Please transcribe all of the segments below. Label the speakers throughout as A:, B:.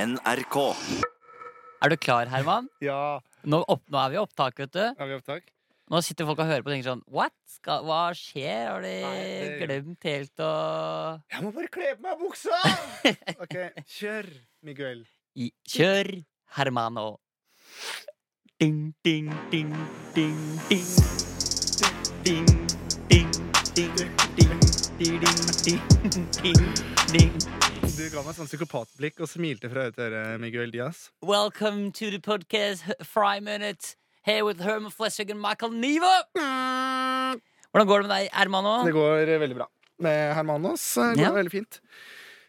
A: NRK.
B: Er du klar, Herman?
C: Ja,
B: Nå, opp, nå er vi i opptak, vet du.
C: er vi opptak?
B: Nå sitter folk og hører på og tenker sånn What? Skal, hva skjer? Har de
C: Nei, det-
B: glemt helt å
C: Jeg må bare kle på meg buksa! OK, kjør, Miguel.
B: I- Kjør, Hermano. Ding, ding, ding, ding, ding. Ding, ding, ding, ding, ding, ding, ding, ding, ding.
C: Du ga meg sånn psykopatblikk og smilte fra øre til øre, Miguel Diaz.
B: Welcome to the podcast H- Fry Minute. Here with Herman Flesvig and Michael Niva. Hvordan går det med deg, Hermano?
C: Det går eh, veldig bra. Med Hermanos eh, går
B: Ja.
C: det veldig fint.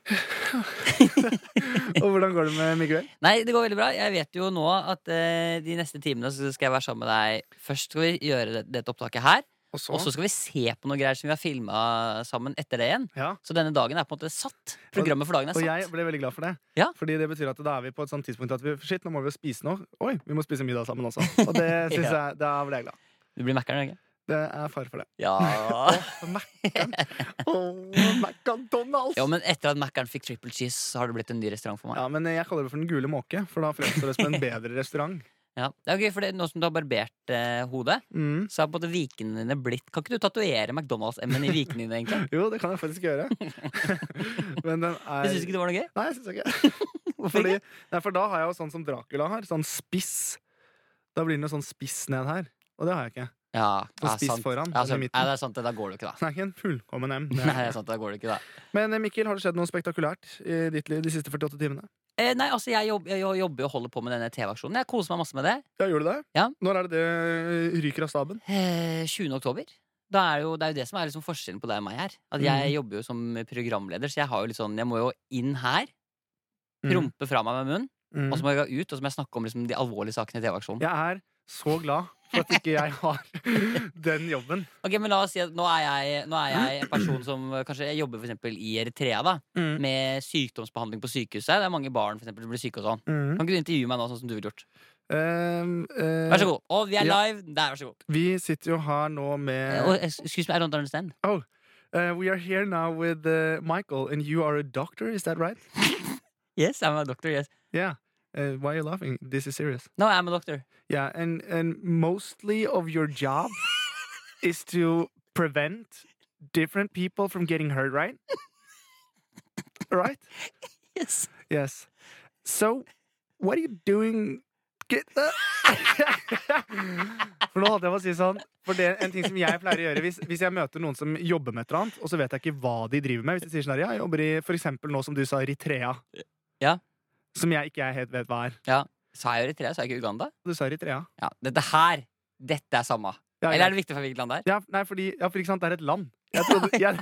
C: og hvordan går det med Miguel?
B: Nei, det går veldig bra. Jeg vet jo nå at eh, de neste timene så skal jeg være sammen med deg. Først skal vi gjøre det- dette opptaket her,
C: Og
B: og så skal vi se på noe greier som vi har filma sammen etter det igjen.
C: Ja.
B: Så denne dagen er på en måte satt. Programmet for dagen er
C: Og jeg
B: satt.
C: ble veldig glad for det.
B: Ja.
C: Fordi det betyr at da er vi på et sånt tidspunkt at vi, shit, nå må vi jo spise noe. Oi, vi må spise middag sammen også. Og det synes
B: Ja.
C: jeg, da ble jeg glad.
B: Du blir Mækkern, ikke?
C: Det er fare for det.
B: Ja.
C: Mac-an. McDonald's!
B: ja, men etter at Mækkern fikk triple cheese, så har det blitt en ny restaurant for meg.
C: Ja, men jeg kaller det for Den gule måke, for da fremstår det som en bedre restaurant.
B: Ja. Det er gøy, for det, nå som du har barbert eh, hodet,
C: Mm.
B: så har på en måte vikene dine blitt Kan ikke du tatovere McDonald's-M-en i vikene dine, egentlig?
C: Jo, det kan jeg faktisk gjøre. Men den er
B: Jeg syns ikke det var noe gøy.
C: Nei, jeg syns ikke
B: Hvorfor
C: Fordi,
B: ikke?
C: nei, For da har jeg jo sånn som Dracula har, sånn spiss. Da blir det noe sånn spiss ned her. Og det har jeg ikke.
B: Ja,
C: Og
B: ja,
C: spiss
B: sant.
C: foran.
B: Ja,
C: eller i
B: sant. Nei,
C: midten.
B: det er sant. det. Da går det jo ikke, da.
C: Det er ikke en fullkommen M. det er
B: Nei,
C: det
B: det er sant. Da går det ikke, da.
C: ikke. Men eh, Mikkel, har det skjedd noe spektakulært i ditt liv de siste 48 timene?
B: Eh, nei, altså jeg, jobb, jeg jobber og holder på med denne TV-aksjonen. Jeg koser meg masse med det.
C: Ja, gjorde du det?
B: Ja.
C: Når er det det ryker av staben?
B: Eh, 20. oktober. Da er det, jo, det er jo det som er liksom forskjellen på deg og meg her. At jeg jobber jo som programleder, så jeg, har jo litt sånn, jeg må jo inn her,
C: Mm.
B: prompe fra meg med munnen,
C: Mm.
B: og så må jeg gå ut og så må jeg snakke om liksom, de alvorlige sakene i TV-aksjonen.
C: Jeg er så glad for at ikke jeg har den jobben.
B: Ok, men la oss si at Nå er jeg, nå er jeg en person som eh, kanskje jeg jobber for eksempel i Eritrea, da
C: Mm.
B: med sykdomsbehandling på sykehuset. Det er mange barn for eksempel, som blir syke og sånn.
C: Mm.
B: Kan ikke du intervjue meg nå, sånn som du ville gjort?
C: Ehm, eh,
B: Vær så god. Og vi er
C: ja.
B: live! Der, vær så god.
C: Vi sitter jo her nå
B: Eh,
C: med
B: og, excuse me, I don't understand.
C: Eh, We are here now with eh, Michael, and you are a doctor, is that right?
B: Yes, I'm a doctor, yes.
C: Yeah. Eh, why are you laughing? This is serious.
B: No, I'm a doctor.
C: Yeah, and, and mostly of your job is to prevent different people from getting hurt, right? right?
B: Yes.
C: Yes. So, what are you doing Get the For nå holdt jeg på å si sånn For det er en ting som jeg pleier å gjøre hvis, hvis jeg møter noen som jobber med et eller annet, og så vet jeg ikke hva de driver med Hvis de sier sånn her, ja, jeg jobber i for eksempel nå som du sa, Eritrea
B: Ja.
C: Som jeg ikke helt vet hva er
B: Sa jeg Eritrea, sa jeg ikke Uganda?
C: Du sa Eritrea
B: Ja, Dette her, dette er samme.
C: ja,
B: Eller er
C: ja.
B: det viktig for hvilket land det er?
C: Ja, nei, fordi, ja, for ikke sant, det er et land jeg trodde, jeg,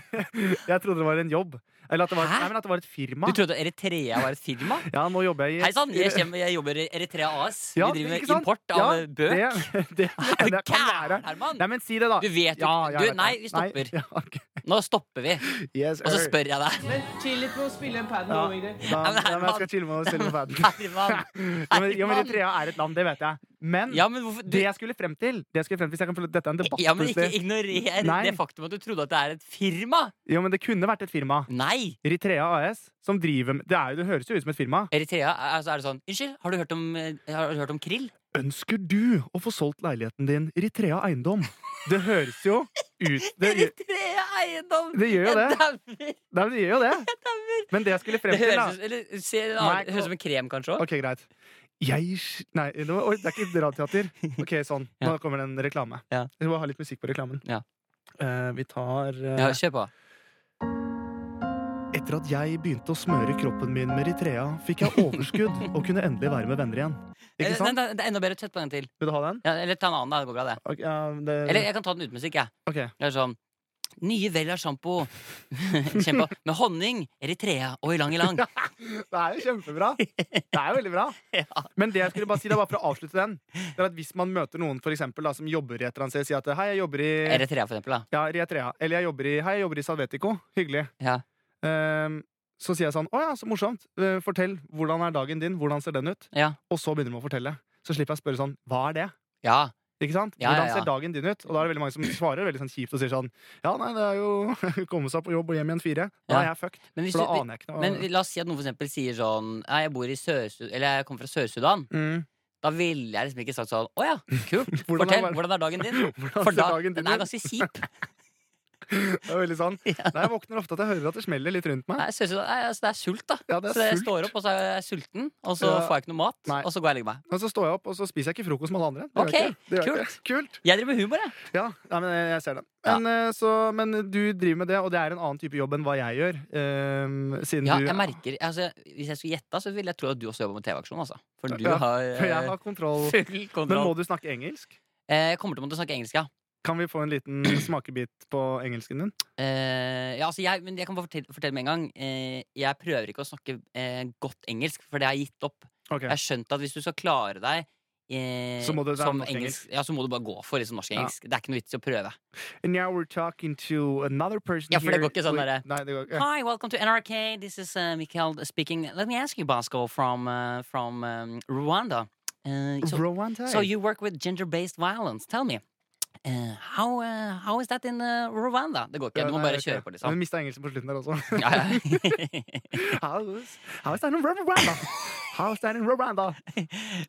C: jeg trodde det var en jobb Eller at det var,
B: Hæ?
C: nei, men at det var et firma
B: Du trodde Eritrea var et firma?
C: Ja, nå jobber jeg i
B: Hei sann, jeg, kommer- jeg jobber i Eritrea AS.
C: Ja,
B: Vi driver
C: ikke
B: med
C: sant?
B: import av eh, bøk.
C: Det, det,
B: Er
C: det,
B: du
C: kan
B: gæren,
C: være
B: Herman?
C: Nei, men si det da
B: Du vet jo
C: Ja, jeg
B: du,
C: vet
B: Nei,
C: det.
B: vi stopper.
C: Nei, ja, ok.
B: Nå stopper vi.
C: Yes,
B: Og så
C: sir.
B: spør jeg deg.
D: Men chill litt med å spille en pad
C: Ja.
D: nå, Ingrid.
C: Da,
B: Nei, men
C: ja, men jeg skal
B: Herman.
C: chille med å stille på verden.
B: Herman.
C: Jo, men, jo, men Eritrea er et land, det vet jeg. Men
B: Ja, men hvorfor du,
C: det jeg skulle frem til, det jeg skulle frem til hvis jeg kan, få- Dette er en debatt,
B: Ja, men ikke
C: plutselig.
B: ignorer
C: Nei.
B: det faktum at du trodde at det er et firma.
C: Jo, men det kunne vært et firma.
B: Nei!
C: Eritrea AS, som driver med Det, er jo, det høres jo ut som et firma.
B: Eritrea, altså er det sånn Unnskyld, har du hørt om, eh, har du hørt om krill?
C: Ønsker du å få solgt leiligheten din Eritrea Eiendom? Det høres jo ut Det, gjør-
B: Eritrea eiendom!
C: det gjør jo det.
B: Jeg dauer,
C: Nei, men det gjør jo det.
B: jeg dauer.
C: Men det jeg skulle frem
B: Det
C: til, da
B: høres ut eller, se, det
C: Nei,
B: høres ut som en krem, kanskje? også.
C: Ok, greit. Jeg s- Nei, det, var, oi, det er ikke radioteater. Ok, sånn. Nå
B: Ja.
C: kommer det en reklame.
B: Ja.
C: Vi må ha litt musikk på reklamen.
B: Ja.
C: Eh, vi tar eh,
B: Ja, kjør på.
C: Etter at jeg begynte å smøre kroppen min med Eritrea, fikk jeg overskudd og kunne endelig være med venner igjen.
B: Eh,
C: Ikke sant?
B: nei, nei, det er enda bedre. Sett på en til.
C: Vil du ha den?
B: Ja, eller ta en annen, da. Det går bra, det.
C: Ok, ja, det,
B: Eller jeg kan ta den uten musikk, jeg.
C: ok.
B: Det er sånn Nye Vella-sjampo Kjempe- med honning, Eritrea og ylang-ylang.
C: Det er jo kjempebra. Det er jo veldig bra. Men det jeg skulle bare si, da, bare for å avslutte den, det er at hvis man møter noen for eksempel, da, som jobber i et eller annet sted, sier at hei, jeg jobber i
B: Eritrea, for eksempel. Da.
C: ja, Eritrea, eller jeg jobber i, hei, jeg jobber i Salvetico. Hyggelig.
B: Ja.
C: Ehm, så sier jeg sånn, å ja, så morsomt. Eh, Fortell, hvordan er dagen din? Hvordan ser den ut?
B: Ja.
C: Og så begynner man å fortelle. Så slipper jeg å spørre sånn, hva er det?
B: ja.
C: Ikke sant?
B: Ja, ja,
C: Hvordan
B: ja.
C: ser dagen din ut? Og da er det veldig mange som svarer veldig sånn kjipt og sier sånn Ja, nei, det er jo komme seg på jobb og hjem igjen fire. Da
B: Ja.
C: er jeg fucked.
B: Men, hvis
C: For da
B: du,
C: aner jeg ikke noe.
B: men la oss si at noen for eksempel sier sånn Nei, jeg bor i Sør-Sudan Eller jeg kommer fra Sør-Sudan.
C: mm.
B: Da ville jeg liksom ikke sagt sånn Å ja, kult.
C: Hvordan
B: Fortell,
C: er-
B: hvordan er dagen din?
C: Hvordan
B: For
C: ser
B: da, den
C: dagen din
B: er
C: ut?
B: ganske kjip.
C: Det er veldig sånn. Nei, jeg våkner ofte at jeg hører at det smeller litt rundt meg.
B: Nei, Sør-Sudan nei, altså, Det er sult, da.
C: Ja, det
B: så
C: er
B: jeg
C: sult.
B: står opp, og så er jeg sulten, og så
C: Ja.
B: får jeg ikke noe mat.
C: Nei.
B: Og så går jeg og legger meg.
C: Og så står jeg opp, og så spiser jeg ikke frokost som alle andre. Det gjør jeg
B: Ok,
C: ikke. Det gjør jeg ikke. Kult.
B: Jeg driver med humor, jeg.
C: Ja, nei, men jeg jeg ser den. Men, eh, så, men du driver med det, og det er en annen type jobb enn hva jeg gjør. eh, siden
B: Ja,
C: du
B: jeg merker, altså, hvis jeg skulle gjette, så ville jeg tro at du også jobber med TV-aksjon. Altså. For du
C: Ja,
B: har,
C: For jeg
B: eh,
C: har kontroll.
B: full
C: Men må
B: kontroll.
C: du snakke engelsk?
B: Eh, Jeg kommer til å måtte snakke engelsk, ja.
C: Kan vi få en liten smakebit på engelsken din?
B: Eh, ja altså, jeg, men jeg kan bare fortelle, fortelle med en gang. Eh, jeg prøver ikke å snakke eh, godt engelsk, for det har jeg gitt opp.
C: Ok,
B: Jeg har skjønt at hvis du skal klare deg eh,
C: Så må det være
B: som
C: norsk engelsk.
B: Ja, så må du bare gå for liksom, norsk-engelsk. Det er ikke noe vits i å prøve.
C: And now we're talking to another person
B: Ja, for det
C: here.
B: går ikke sånn
C: Oi,
B: derre-
C: Nei, det går ikke.
B: Hi, welcome to NRK. This is uh, Mikhail speaking. Let me ask you, Bosco, from uh, from um, Rwanda. Uh, so,
C: Rwanda.
B: so you work with gender-based violence. Tell me, uh, how uh, how is that in uh, Rwanda? Det går ikke.
C: Ja,
B: Du må
C: nei,
B: bare
C: ok.
B: kjøre på,
C: Men
B: liksom.
C: Vi mista engelsken på slutten der også.
B: Ja, ja.
C: How's, how's that in Rwanda? How's that in Rwanda?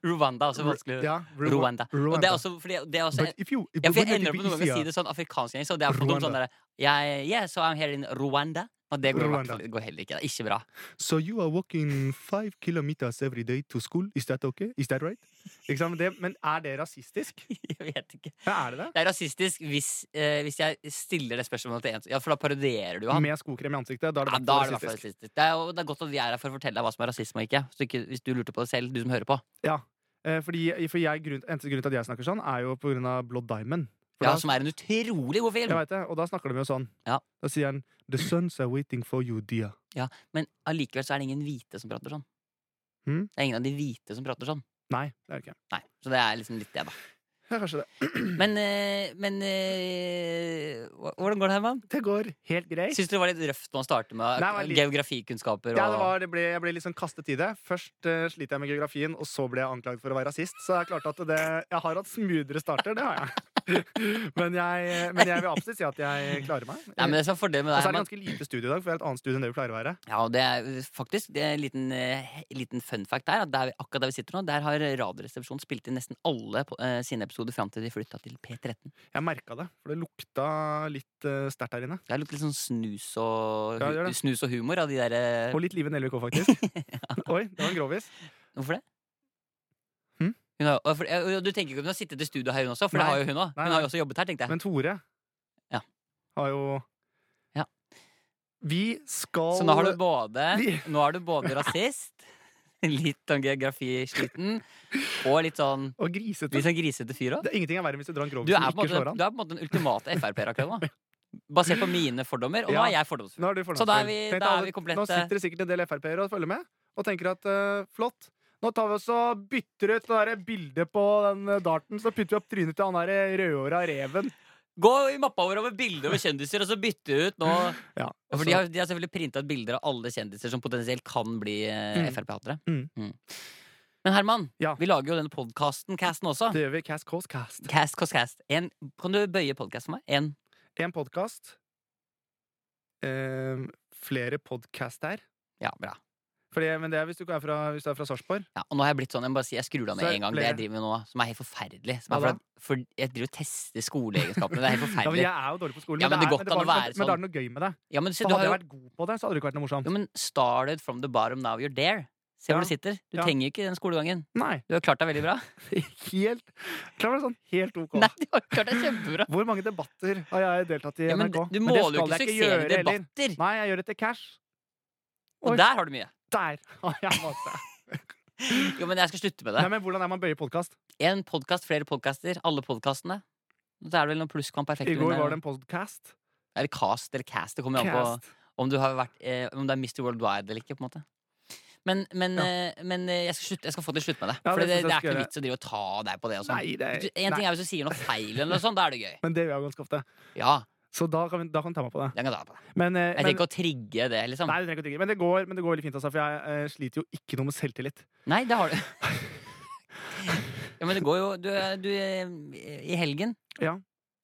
B: Rwanda er også vanskelig.
C: Ja, Rwa-
B: Rwanda. Og det
C: Rwanda.
B: er også fordi det er også
C: But if you,
B: ja, for jeg
C: wouldn't it
B: ender opp
C: be
B: med noen ganger å
C: easier?
B: si det sånn afrikansk engelsk, og det er for dumt sånn derre jeg- Yeah, so I'm here in Rwanda. Og det går, i hvert
C: Rwanda.
B: fall- det går heller ikke. Det er ikke bra.
C: So you are walking five kilometers every day to school. Is that okay? Is that right? Ikke sant? Men, det, men er det rasistisk?
B: Jeg vet ikke.
C: Ja, er det det?
B: Det er rasistisk hvis, eh, hvis jeg stiller det spørsmålet til en Ja, for da parodierer du han.
C: Med skokrem i ansiktet? Da er
B: Ja,
C: det, hvertfall
B: da er det i hvert fall
C: rasistisk.
B: rasistisk. Det er, jo- det er godt at vi er her for å fortelle deg hva som er rasisme og ikke. Så ikke hvis du lurte på det selv, du som hører på.
C: Eh, Fordi, for jeg, grunn, eneste grunn til at jeg snakker sånn, er jo på grunn av Blood Diamond. For
B: Ja,
C: da-
B: Som er en utrolig god film.
C: jeg vet det, og da snakker de jo sånn.
B: Ja.
C: Da sier han The sons are waiting for you, dear.
B: Men allikevel så er det ingen hvite som prater sånn.
C: Hmm?
B: Det er ingen av de hvite som prater sånn.
C: Nei, det er det ikke.
B: Nei, Så det er liksom litt det, da.
C: Ja, kanskje det.
B: Men, eh, men eh, hva- Hvordan går det, Herman?
C: Det går helt greit.
B: Syns du det var litt røft når man starter med
C: Nei, det var litt-
B: geografikunnskaper? Og...
C: Ja, det var, det ble, jeg ble liksom kastet i det. Først uh, slit jeg med geografien, og så ble jeg anklaget for å være rasist. Så det er klart at det, jeg har hatt smoothere starter, det har jeg. men, jeg men jeg vil absolutt si at jeg klarer meg.
B: Nei, men det som er fordelen med
C: og
B: deg,
C: så er det
B: Herman
C: ganske lite studie i dag, for jeg har et annet studie enn det vi pleier å være.
B: Ja, og det er faktisk det er en liten, eh, liten fun fact der. At der, akkurat der vi sitter nå, der har Radioresepsjonen spilt inn nesten alle på, eh, sine episoder fram til de flytta til P13.
C: Jeg merka det, for det lukta litt uh, sterkt her inne.
B: Det er litt sånn snus og,
C: Ja, det gjør det.
B: snus og humor av de eh, derre
C: Og litt Liven LVK, faktisk. Oi, det var en grovis.
B: Hvorfor det?
C: Hm?
B: Hun har, og for, ja, du tenker ikke at hun har sittet i studio her, hun også? For
C: Nei.
B: det har jo hun òg.
C: Nei,
B: Hun
C: nei.
B: har jo også jobbet her, tenkte jeg.
C: Men Tore
B: Ja.
C: har jo
B: Ja.
C: Vi skal
B: Så nå har du både,
C: Vi-
B: nå er du både rasist, litt sånn geografisliten, og litt sånn,
C: Og grisete.
B: litt sånn grisete fyr òg.
C: Det er ingenting er verre enn hvis du drar en
B: Du
C: grovis
B: er,
C: som
B: på en
C: ikke slår
B: måte,
C: an.
B: du er på en måte den ultimate Frp-er akkurat nå. Basert på mine fordommer, og nå
C: Ja.
B: er jeg fordomsfull.
C: Nå er du fornøyd.
B: Så da er vi-
C: Tenk
B: da
C: deg
B: er
C: alle-
B: vi komplette.
C: Nå sitter det sikkert en del Frp-ere og følger med, og tenker at eh, flott. Nå tar vi oss og bytter ut det der bildet på den eh, darten, så putter vi opp trynet til han der eh, rødhåra reven.
B: Gå i mappa vår over bilder over kjendiser, og så bytte ut nå
C: Ja,
B: For
C: og
B: de
C: så-
B: har, de har selvfølgelig printa ut bilder av alle kjendiser som potensielt kan bli eh,
C: Mm.
B: Frp-hatere.
C: Mm.
B: Mm. Men Herman,
C: Ja.
B: vi lager jo denne podkasten, casten også.
C: Det gjør vi. Cast Calls Cast.
B: Cast, cast, cast. En, kan du bøye podkast for meg? En
C: En podkast. flere podkast her.
B: Ja, bra.
C: Fordi, men det er hvis du ikke er fra, hvis du er fra Sarpsborg.
B: Ja, og nå har jeg blitt sånn, jeg må bare si, jeg skrur av med
C: Så er
B: en gang
C: flere.
B: det jeg driver med nå, som er helt forferdelig. Som
C: Hva
B: er
C: da?
B: for, at- for jeg driver og tester skoleegenskapene. Det er helt
C: Ja, men
B: forferdelig.
C: jeg er jo dårlig på skolen,
B: Ja, men det
C: er-
B: går ikke an
C: var
B: å
C: noe-
B: være
C: men det er
B: sånn.
C: noe gøy med det.
B: Ja, men, se,
C: For
B: du har
C: hadde
B: jo,
C: jeg vært god på det, så hadde det ikke vært noe morsomt.
B: jo, men started from the bottom, now you're there. Se
C: Ja,
B: hvor du sitter. Du
C: ja.
B: trenger jo ikke den skolegangen.
C: Nei,
B: Du har klart deg veldig bra.
C: helt Klar, sånn, helt ok.
B: Nei, du har klart deg kjempebra.
C: Hvor mange debatter har jeg deltatt i i
B: Ja, men du
C: NRK?
B: du
C: Men det
B: måler jo
C: skal
B: ikke
C: jeg
B: suksess i
C: gjøre heller.
B: debatter.
C: Nei, jeg gjør det til cash. Oi.
B: Og der har du mye.
C: Der har jeg masse.
B: Jo, men jeg skal slutte med
C: Nei,
B: det.
C: men hvordan er man bøyer podkast?
B: En podkast, flere podkaster. Alle podkastene. Så er det vel noen plusskamp perfekt.
C: I går
B: under-
C: var det en podcast.
B: Eller cast eller cast. Det kommer jo an på
C: Cast.
B: om, du har vært, eh, om det er Mr. Worldwide eller ikke. på en måte Men, men,
C: Ja.
B: eh, men eh, jeg, skal slutte, jeg skal få til å slutte med det.
C: Ja,
B: For det,
C: det
B: det,
C: synes jeg
B: er
C: skal
B: ikke noe
C: gjøre.
B: vits å drive og ta deg på det. Og sånn.
C: Nei, det
B: Du- en
C: nei.
B: ting er hvis du sier noe feil, eller noe sånt, da er det gøy.
C: Men det gjør jeg ganske ofte.
B: Ja,
C: Så da kan, vi, da kan vi ta meg på det.
B: jeg kan ta på det.
C: Men, eh,
B: Jeg
C: men,
B: trenger ikke å trigge det, liksom.
C: nei, du trenger ikke å tygge. men, det, går, men det går veldig fint, altså, for jeg eh, sliter jo ikke noe med selvtillit.
B: Nei, det har du. Ja, men det går jo Du, du eh, I helgen
C: Ja.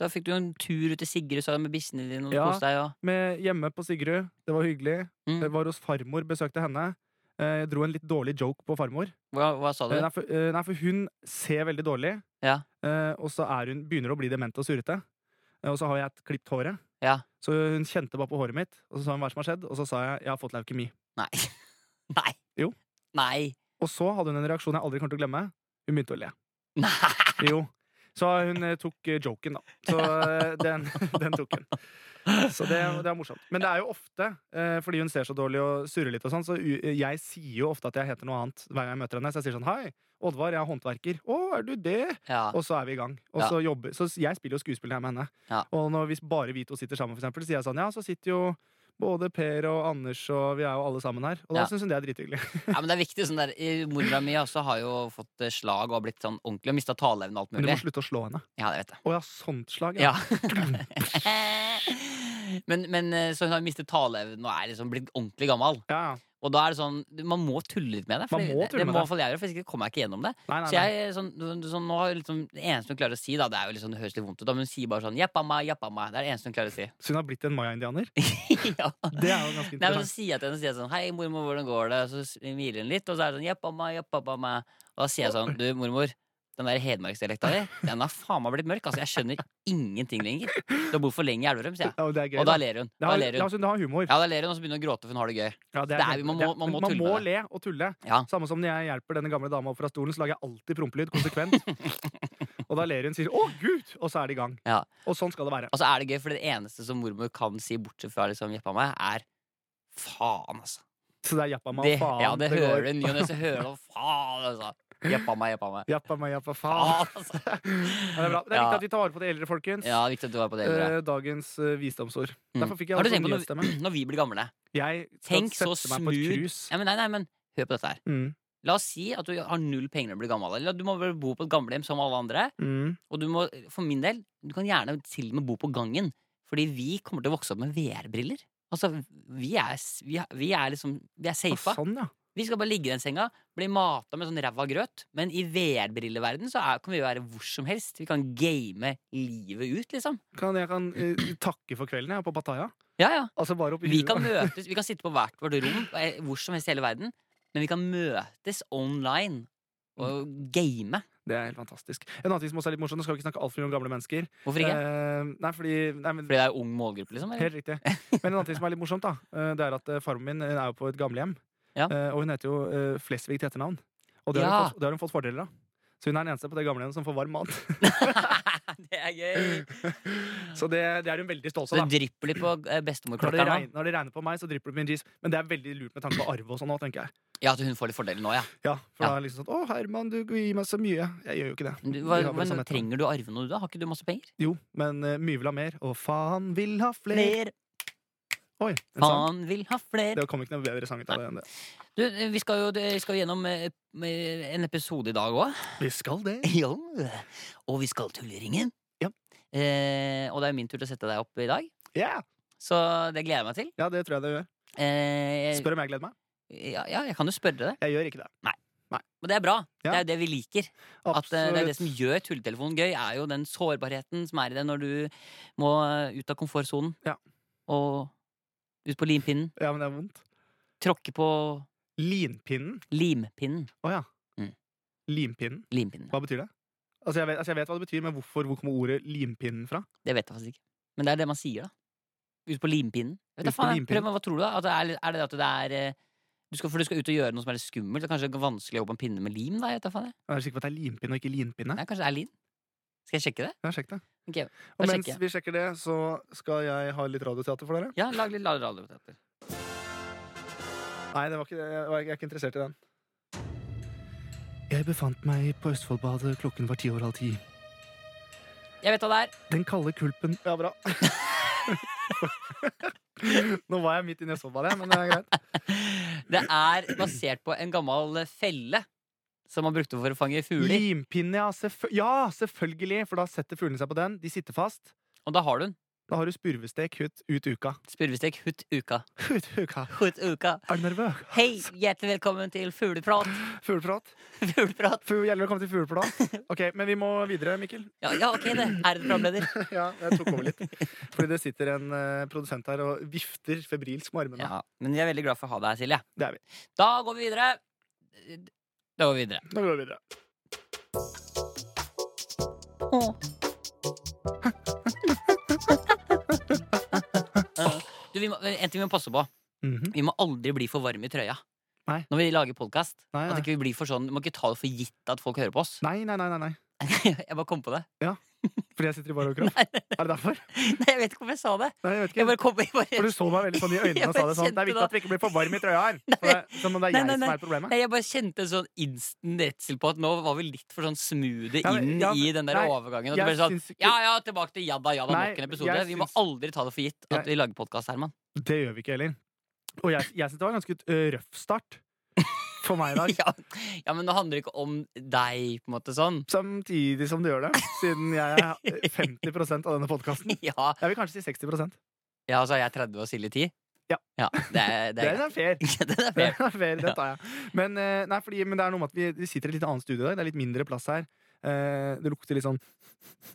B: Da fikk du jo en tur ut til Sigrud sa du, med bikkjene dine og
C: Ja.
B: koste deg. Og,
C: Med hjemme på Sigrud. Det var hyggelig.
B: Mm.
C: Jeg var hos farmor, besøkte henne. Eh, Jeg dro en litt dårlig joke på farmor.
B: hva, hva sa du?
C: Eh, Nei, for, eh, nei, for hun ser veldig dårlig,
B: Ja.
C: Eh, og så er hun, begynner hun å bli dement og surrete. Eh, Og så har jeg et klipt håret,
B: Ja.
C: så hun kjente bare på håret mitt. Og så sa hun hva som har skjedd, og så sa jeg jeg har fått leukemi.
B: Nei. Nei.
C: Jo.
B: Nei.
C: Og så hadde hun en reaksjon jeg aldri kommer til å glemme. Hun begynte å le.
B: Nei.
C: Jo. Så hun eh, tok eh, joken, da. Så eh, den, den tok hun. Så det, det er morsomt. Men det er jo ofte, eh, fordi hun ser så dårlig og surrer litt, og sånn, så u- jeg sier jo ofte at jeg heter noe annet hver gang jeg møter henne. Så jeg sier sånn Hei, Oddvar, jeg er håndverker. Å, er du det?
B: Ja.
C: Og så er vi i gang. Og
B: Ja.
C: så jobber Så jeg spiller jo skuespill her med henne.
B: Ja.
C: Og når hvis bare vi to sitter sammen, for eksempel, så sier jeg sånn Ja, så sitter jo både Per og Anders og Vi er jo alle sammen her. Og da
B: Ja.
C: synes syns hun det er drithyggelig.
B: ja, men det er viktig. Sånn der, i- Mora mi også har jo fått eh, slag og har blitt sånn ordentlig og mista taleevnen og alt
C: Men du
B: mulig.
C: må slutte å slå henne.
B: Ja, det vet jeg.
C: Å ja, sånt slag,
B: Ja. men, men eh, så hun har mistet taleevnen og er liksom blitt ordentlig gammel.
C: ja, ja.
B: Og da er det sånn, man må tulle litt med det.
C: Man
B: fordi
C: må
B: det-
C: tulle
B: det
C: med
B: må
C: det.
B: i hvert fall jeg gjøre, for hvis ikke kommer jeg ikke gjennom det.
C: Nei, nei,
B: Så
C: nei.
B: jeg, sånn, sånn, nå har jeg liksom, Det eneste hun klarer å si, da, det er jo liksom, det høres litt vondt ut, da, men hun sier bare sånn jappa meg, jappa meg. Det er det eneste hun klarer å si.
C: Så hun har blitt en maya-indianer?
B: ja.
C: Det er
B: Nei, men
C: jo ganske
B: Så
C: interessant.
B: sier jeg til henne så sier jeg sånn Hei, mormor, hvordan går det? Og så smiler hun litt, og så er det sånn jappa meg, jappa meg. Og da sier jeg sånn Du, mormor, den der hedmarksdialekta di, den har faen meg blitt mørk. Altså, jeg skjønner ingenting lenger. Du har bodd for lenge i Elverum, sier jeg.
C: Ja, det er gøy.
B: Og da
C: da.
B: ler hun.
C: Det
B: Da
C: har,
B: ler
C: la
B: hun.
C: oss si det har humor.
B: Ja, da ler hun, og så begynner hun å gråte, for hun har det gøy.
C: Ja, det
B: det er- man må-
C: kjempe-
B: man må
C: men
B: tulle med
C: le og tulle.
B: Ja.
C: Samme som når jeg hjelper denne gamle dama opp fra stolen, så lager jeg alltid prompelyd konsekvent. og da ler hun sier 'Å, Gud!' Og så er det i gang.
B: Ja.
C: Og sånn skal det være.
B: Og så er det gøy, for det eneste som mormor kan si, bortsett fra liksom jappa meg, er faen, altså.
C: Så det er jappa meg
B: Det,
C: og faen.
B: ja, det,
C: går.
B: hører du i ny og ne. Så hører du faen, altså. Jappa meg, jappa meg.
C: Jappa meg, jappa faen.
B: Faen, altså.
C: Ja, det er bra. Det er
B: Ja.
C: viktig at vi tar vare på de eldre, folkens.
B: Ja, viktig at du var på det. Eldre.
C: Eh, Dagens eh, visdomsord.
B: Mm.
C: Derfor fikk jeg
B: Har du
C: også sånn
B: tenkt på
C: nyhetsstemme.
B: Når vi blir gamle
C: Jeg skal
B: Tenk så
C: sette meg på et
B: smooth.
C: krus.
B: ja, men Nei, nei, men hør på dette her.
C: Mm.
B: La oss si at du har null penger når du blir gammel. Eller at du må vel bo på et gamlehjem som alle andre.
C: Mm.
B: Og du må, for min del, du kan gjerne til og med bo på gangen. Fordi vi kommer til å vokse opp med VR-briller. Altså, vi er, s- vi, er- vi er liksom Vi er
C: Ah,
B: safa.
C: sånn, ja.
B: Vi skal bare ligge i den senga, bli mata med sånn ræva grøt. Men i VR-brilleverden så er, kan vi jo være hvor som helst. Vi kan game livet ut, liksom.
C: Kan, jeg kan eh, takke for kvelden jeg, på Pattaya.
B: Ja, ja.
C: Altså bare opp i
B: Vi
C: huet.
B: kan møtes, vi kan sitte på hvert vårt rom eh, hvor som helst i hele verden, men vi kan møtes online og game.
C: Det er helt fantastisk. En annen ting som også er litt morsomt, nå skal vi ikke snakke altfor mye om gamle mennesker.
B: Hvorfor ikke?
C: Eh, nei, fordi, nei, men,
B: Fordi det er ung målgruppe, liksom? Eller?
C: helt riktig. Men en annen ting som er litt morsomt, da, eh, det er at eh, farmen min eh, er jo på et gamlehjem.
B: Ja.
C: Eh, og hun heter jo eh, Flesvig til etternavn. Og det har,
B: Ja.
C: hun fått, det har hun fått fordeler av. Så hun er den eneste på det gamlehjemmet som får varm mat.
B: det er gøy!
C: Så det, det er hun veldig stolt
B: Så
C: av.
B: det
C: da.
B: drypper litt på eh,
C: Når det,
B: bestemorklokka nå?
C: regner, når det regner på meg, så drypper det på min jeans. Men det er veldig lurt med tanke på arv og sånn nå, tenker jeg.
B: Ja, at hun får litt fordeler nå, ja.
C: Ja, for
B: Ja.
C: da er det liksom sånn Å, Herman, du gir meg så mye. Jeg gjør jo ikke det.
B: Men Du,
C: Vi
B: hva,
C: har vel
B: men
C: samme etternavn.
B: trenger du å arve noe, da? Har ikke du masse penger?
C: Jo, men eh, mye vil ha mer. Og faen vil ha fler.
B: Fler!
C: Oi, en sang.
B: Faen vil ha fler!
C: Det kom ikke noe bedre sang ut av det enn det.
B: Du, eh, vi skal jo, det- vi skal jo gjennom eh, eh, en episode i dag òg.
C: Vi skal det.
B: Ja. Og vi skal til Tulleringen.
C: Ja.
B: Eh, og det er min tur til å sette deg opp i dag,
C: Ja,
B: så det gleder jeg meg til.
C: Ja, det tror jeg det gjør.
B: Eh,
C: Spør om jeg gleder meg.
B: ja, ja, jeg kan jo spørre deg.
C: Jeg gjør ikke det.
B: Men det er bra.
C: Ja.
B: Det er jo det vi liker. At, eh, det er det som
C: Absolutt.
B: gjør tulletelefonen gøy, er jo den sårbarheten som er i det når du må eh, ut av komfortsonen.
C: Ja.
B: Og ut på limpinnen.
C: Ja, men det er vondt.
B: Tråkke på
C: Linpinnen.
B: limpinnen.
C: Å ja.
B: Mm.
C: Limpinnen.
B: Limpinnen.
C: Hva betyr det? Altså jeg, vet, altså, jeg vet hva det betyr, men hvorfor, hvor kommer ordet limpinnen fra?
B: Det vet jeg faktisk ikke. Men det er det man sier, da. Ut på limpinnen. Vet
C: Ut
B: da
C: på
B: faen, jeg.
C: limpinnen.
B: prøv meg, Hva tror du, da? At det er, er det at det er eh, du skal, For du skal ut og gjøre noe som er litt skummelt. Det er kanskje vanskelig å jobbe på en pinne med lim? da, jeg vet da faen jeg.
C: Jeg er sikker på at det er limpinne og ikke linpinne.
B: Nei, kanskje det er lim? Skal jeg sjekke det?
C: Ja, sjekk det.
B: Ok, da
C: og mens
B: sjekker jeg.
C: vi sjekker det, så skal jeg ha litt radioteater for dere.
B: Ja, lag litt radioteater.
C: Nei, det var ikke, det. jeg var- jeg er ikke interessert i den. Jeg befant meg på Østfoldbadet, klokken var ti over halv ti.
B: Jeg vet hva det er.
C: Den kalde kulpen Ja, bra. Nå var jeg midt i Østfoldbadet, men det er greit.
B: Det er basert på en gammel felle som man brukte for å fange fugler.
C: Limpinne, ja, selvfø- ja, selvfølgelig! For da setter fuglene seg på den. De sitter fast.
B: Og da har du den.
C: Da har du spurvestek ut, ut uka.
B: Spurvestek hutt uka.
C: Ut uka.
B: Hutt uka.
C: Er du nervøs?
B: Hei, hjertelig velkommen til fugleprat.
C: Fugleprat.
B: Fugleprat.
C: Fu- Gjelder det å komme til fugleprat? Ok, men vi må videre, Mikkel.
B: Ja, ja, ok, det. Er det programleder?
C: Ja, jeg tok over litt. Fordi det sitter en eh, produsent her og vifter febrilsk med armene.
B: Ja, men jeg er veldig glad for å ha deg her, Silje.
C: Det er vi.
B: Da går vi videre. Da går vi videre.
C: Da går vi videre.
B: Du, vi må, en ting vi må passe på.
C: Mhm.
B: Vi må aldri bli for varme i trøya.
C: Nei.
B: Når vi lager podkast.
C: Nei, nei.
B: Vi blir for sånn, du må ikke ta det for gitt at folk hører på oss.
C: nei, nei, nei, nei, nei.
B: jeg bare kom på det.
C: Fordi jeg sitter i bar overkropp? Er det derfor?
B: Nei, jeg vet ikke hvorfor jeg sa det.
C: Nei, jeg
B: Jeg
C: vet ikke.
B: bare kom jeg
C: For
B: bare,
C: du så meg veldig sånn i øynene og sa det sånn. Det er viktig at vi ikke blir for varm i trøya her. For det, som om det er
B: Nei,
C: jeg
B: nei,
C: som er problemet.
B: Nei, jeg bare kjente en sånn instant redsel på at nå var vi litt for sånn smoothe
C: Ja, men-
B: inn
C: ja,
B: i den der
C: nei,
B: overgangen. At det
C: Jeg
B: ble sånn
C: syns
B: Ja,
C: ikke
B: ja, tilbake til Jadda Jadda
C: Nei,
B: nok en episode.
C: jeg
B: Vi må
C: syns-
B: aldri ta det for gitt at
C: Jeg-
B: vi lager podkast, Herman.
C: Det gjør vi ikke heller. Og jeg, jeg syns det var en ganske eh, røff start for meg i dag.
B: Ja, ja, men det handler det ikke om deg, på en måte sånn.
C: Samtidig som det gjør det, siden jeg er 50 av denne podkasten.
B: Ja,
C: Jeg vil kanskje si 60
B: ja så er jeg 30 og Silje 10.
C: Ja.
B: det er, det
C: Det
B: er,
C: er fair.
B: greit. Den er
C: Det
B: fair.
C: er fair,
B: Ja.
C: det tar jeg. Men, eh, nei, fordi, men det er noe med at vi, vi sitter i et litt annet studio i dag. Det er litt mindre plass her. Eh, Det lukter litt sånn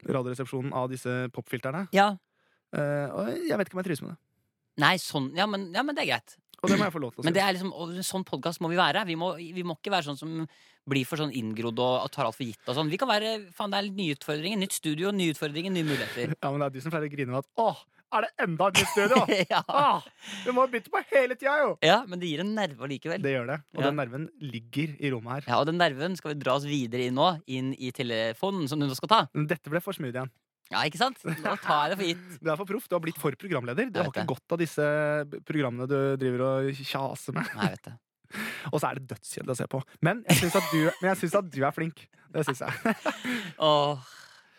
C: Radioresepsjonen av disse popfilterne.
B: Ja.
C: Eh, Og jeg vet ikke om jeg trives med det.
B: Nei, sånn. Ja men, ja, men det er greit.
C: Og det må jeg få lov til å
B: Men
C: si.
B: det er liksom, og sånn podkast må vi være. Vi må, vi må ikke være sånn som blir for sånn inngrodd og, og tar alt for gitt. og sånn. Vi kan være, faen, Det er nye utfordringer, nytt studio, nye utfordringer, nye muligheter.
C: Ja, men det er du som pleier å grine med at åh, er det enda et nytt studio?
B: ja.
C: Åh, vi må bytte på hele tida, jo!
B: ja, Men det gir en nerve allikevel.
C: Det gjør det. Og
B: Ja.
C: den nerven ligger i rommet her.
B: Ja, Og den nerven skal vi dra oss videre inn nå, inn i telefonen som du nå skal ta.
C: Men Dette ble for smooth igjen.
B: Ja, ikke sant? Nå tar jeg det for gitt.
C: Du er for proff. Du har blitt for programleder. Du
B: Jeg
C: har
B: vet
C: ikke godt av disse programmene du driver og kjaser med.
B: Nei, vet du.
C: Og så er det dødskjedelig å se på. Men jeg syns at, du- men jeg synes at du er flink. Det syns jeg.
B: Åh.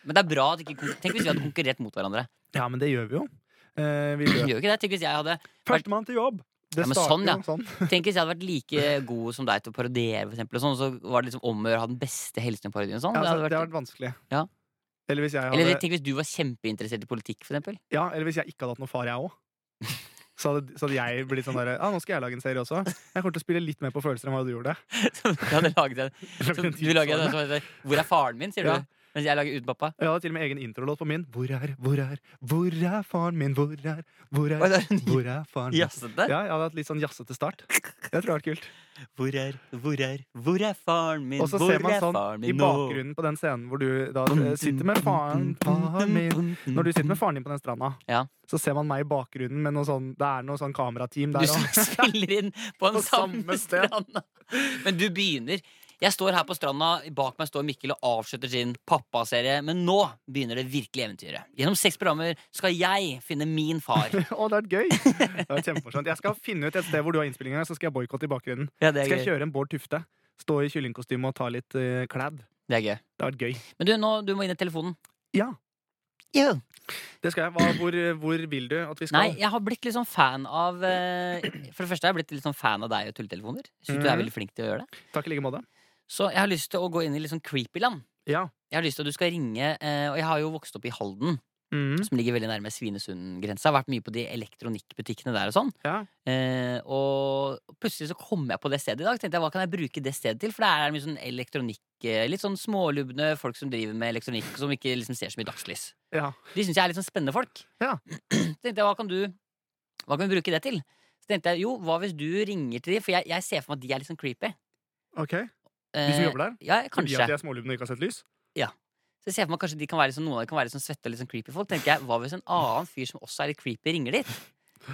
B: Men det er bra at ikke kon- Tenk hvis vi hadde konkurrert mot hverandre.
C: Ja, men det gjør vi jo. Eh, vi
B: Vi
C: gjør.
B: Gjør jo ikke det. Tenk hvis jeg hadde,
C: Førstemann til jobb! Det
B: Ja, men
C: starter
B: sånn, ja.
C: jo sånn.
B: tenk hvis jeg hadde vært like god som deg til å parodiere, for eksempel, og sånn, så var det liksom om å gjøre å ha den beste helseparodieren. og Sånn.
C: Ja,
B: Det
C: altså,
B: hadde vært-
C: det har vært vanskelig.
B: Ja.
C: Eller hvis jeg hadde
B: Eller tenk hvis du var kjempeinteressert i politikk, for eksempel.
C: Ja, eller hvis jeg ikke hadde hatt noe far, jeg òg. Så hadde, så hadde jeg blitt sånn derre Ja, nå skal jeg lage en serie også. Jeg kommer til å spille litt mer på følelser enn hva du gjorde.
B: Som du hadde laget en, som
C: Lage en
B: du lager en
C: tidsvarme.
B: som heter 'Hvor er faren min?' sier du
C: Ja.
B: da. Mens jeg lager 'Uten pappa'.
C: Jeg hadde til og med egen introlåt på min. Hvor er, hvor er, hvor er faren min? Hvor er, hvor
B: Oi,
C: er,
B: det er en
C: hvor er faren min?
B: jazzete.
C: Ja, jeg hadde hatt litt sånn jazzete start. Det tror jeg hadde vært kult.
B: Hvor er, hvor er, hvor er faren min?
C: Og så
B: Hvor
C: ser man
B: er faren
C: sånn i
B: min nå?
C: bakgrunnen på den scenen hvor du da eh, sitter med faren, faren min Når du sitter med faren din på den stranda,
B: Ja.
C: så ser man meg i bakgrunnen med noe sånn Det er noe sånn kamerateam
B: Du
C: der òg.
B: spiller inn på den
C: På samme
B: samme
C: sted.
B: stranda. Men du begynner. Jeg står her på stranda, bak meg står Mikkel og avslutter sin pappaserie. Men nå begynner det virkelige eventyret. Gjennom seks programmer skal jeg finne min far.
C: Å, det er gøy! Det er kjempemorsomt. Jeg skal finne ut et sted hvor du har innspillinga, så skal jeg boikotte i bakgrunnen.
B: Ja, det
C: Skal jeg kjøre en Bård Tufte, stå i kyllingkostyme og ta litt uh, klad.
B: Det er gøy.
C: Det har vært gøy.
B: Men du, nå, du må inn i telefonen.
C: Ja,
B: Jo.
C: det skal jeg. Hva, hvor, hvor vil du at vi
B: Nei,
C: skal?
B: jeg har blitt litt sånn fan av eh, For det første har jeg blitt litt sånn fan av deg og tulletelefoner. Jeg synes du er
C: Mhm.
B: veldig flink til å gjøre det
C: Takk i like måte.
B: Så jeg har lyst til å gå inn i litt sånn creepy land.
C: Ja.
B: Jeg har lyst til at du skal ringe eh, Og jeg har jo vokst opp i Halden,
C: Mm.
B: som ligger veldig nærme Svinesund-grensa. Har vært mye på de elektronikkbutikkene der og sånn.
C: Ja.
B: Eh, og plutselig så kom jeg på det stedet i dag. Tenkte jeg, Hva kan jeg bruke det stedet til? For der er det mye sånn elektronikk. eh, Litt sånn smålubne folk som driver med elektronikk, som ikke liksom ser så mye dagslys.
C: ja.
B: De syns jeg er litt sånn spennende folk.
C: Ja.
B: Så tenkte jeg, hva kan du Hva kan vi bruke det til? Så tenkte jeg, jo, hva hvis du ringer til de? For jeg, jeg ser for meg at de er litt sånn creepy.
C: Ok. De som jobber der?
B: Ja,
C: Fordi
B: Eh, kanskje.
C: at de er smålubne og ikke har sett lys?
B: Så jeg ser for meg kanskje de kan være litt sånn, noen av de kan være litt sånn svette og litt sånn creepy folk. Tenker jeg, Hva hvis en annen fyr som også er litt creepy, ringer dit?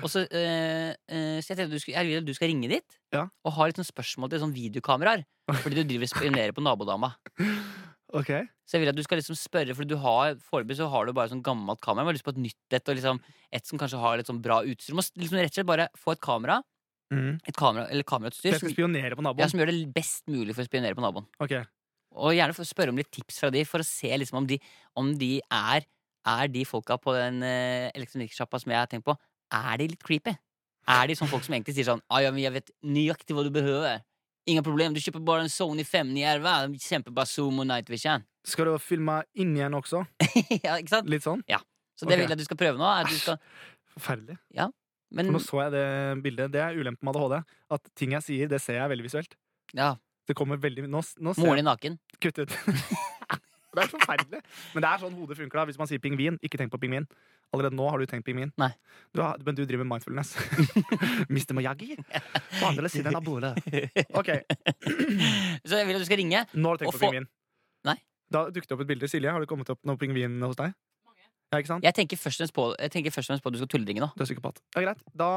B: Og så, eh, eh, så jeg tenkte du skulle, jeg vil at du skal ringe dit
C: Ja.
B: og ha litt sånn spørsmål til sånn videokameraer. Fordi du driver og spionerer på nabodama.
C: Ok.
B: Så jeg vil at du skal liksom spørre, for du har foreløpig så har du bare sånn gammelt kamera. Jeg har lyst på et nytt et, og liksom et som kanskje har litt sånn bra utstyr. Du må s- liksom rett og slett bare få et kamera,
C: Mm.
B: et kamera eller kamerautstyr
C: Jeg skal
B: som,
C: spionere på
B: ja,
C: naboen.
B: som gjør det best mulig for å spionere på naboen.
C: Ok.
B: Og gjerne få spørre om litt tips fra de, for å se liksom om de, om de er Er de folka på den eh, elektronikksjappa som jeg har tenkt på, er de litt creepy? Er de sånn folk som egentlig sier sånn ah, ja, men jeg vet nøyaktig hva du behøver. Ingen problem, du kjøper bare en Sony 511. Kjemper bare Zoom og Night Vision.
C: Skal du filme inn igjen også?
B: ja, ikke sant?
C: Litt sånn?
B: Ja. Så det
C: Ok.
B: vil jeg at du skal prøve nå. Er at du skal,
C: Forferdelig.
B: men
C: For nå så jeg det bildet. Det er ulempen med ADHD. At ting jeg sier, det ser jeg veldig visuelt.
B: ja,
C: Det kommer veldig Nå, nå ser
B: moren din naken.
C: jeg Kutt ut. det er forferdelig. Men det er sånn hodet funker da. Hvis man sier pingvin, ikke tenk på pingvin. Allerede nå har du tenkt pingvin.
B: Nei.
C: Du har, men du driver med mindfulness. Mr. Miyagi. På andre siden av bordet. Ok,
B: Så jeg vil at du skal ringe.
C: nå har du tenkt
B: Og
C: på
B: få-
C: pingvin.
B: Nei.
C: Da dukket det opp et bilde. Silje, har det kommet opp noe pingvin hos deg? Ja, ikke sant?
B: Jeg tenker først og fremst på, jeg tenker først og fremst på at du skal tulleringe nå.
C: Du er psykopat. Ja, greit. Da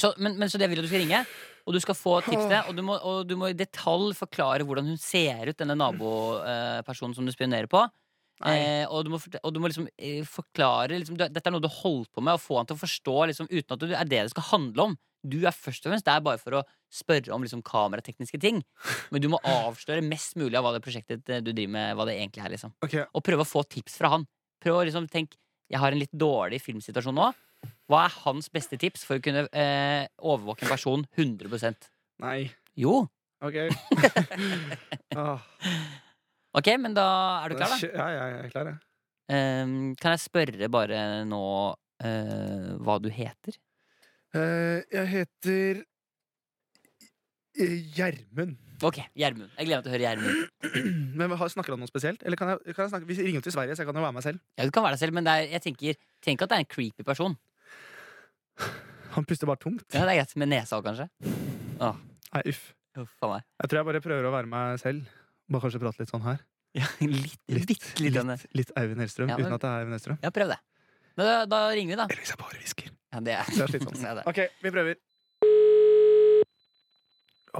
B: Så, men, men så det vil jeg at du skal ringe, og du skal få tipsene. Og du må, og du må i detalj forklare hvordan hun ser ut, denne nabopersonen som du spionerer på.
C: Nei.
B: Eh, og, du må, forte- og du må liksom eh, forklare liksom, du, Dette er noe du har holdt på med, og få han til å forstå liksom, uten at det er det det skal handle om. Du er først og fremst der bare for å spørre om liksom, kameratekniske ting. Men du må avsløre mest mulig av hva det prosjektet eh, du driver med, hva det egentlig er. liksom
C: Ok,
B: og prøve å få tips fra han. Prøv å liksom tenke Jeg har en litt dårlig filmsituasjon nå. Hva er hans beste tips for å kunne eh, overvåke en person 100
C: Nei.
B: Jo.
C: Ok. Åh,
B: Ok, men da er du klar, da.
C: det er kjø- Ja, ja, jeg er klar, jeg.
B: Ehm, kan jeg spørre bare nå eh, hva du heter?
C: Eh, jeg heter eh, Gjermund.
B: Ok, Gjermund. Jeg gleder meg til å høre Gjermund.
C: Men har- snakker han noe spesielt? Eller kan jeg, kan jeg snakke? Vi ringer jo til Sverige, så jeg kan jo være meg selv.
B: Ja, Du kan være deg selv, men det er, jeg tenker tenk at det er en creepy person.
C: Han puster bare tungt.
B: Ja, Det er greit med nesa òg, kanskje.
C: Nei, uff.
B: Uff a meg.
C: Jeg tror jeg bare prøver å være meg selv. Bare kanskje prate litt sånn her.
B: Ja, litt, litt, litt, grann.
C: litt, litt Eivind Hellstrøm,
B: Ja,
C: uten
B: men-
C: at det er Eivind Hellstrøm.
B: Ja, prøv det. Da, da ringer vi, da.
C: Eller hvis jeg bare hvisker.
B: Ja, det er,
C: Det er slitsomt.
B: Ja, det er.
C: Ok, vi prøver.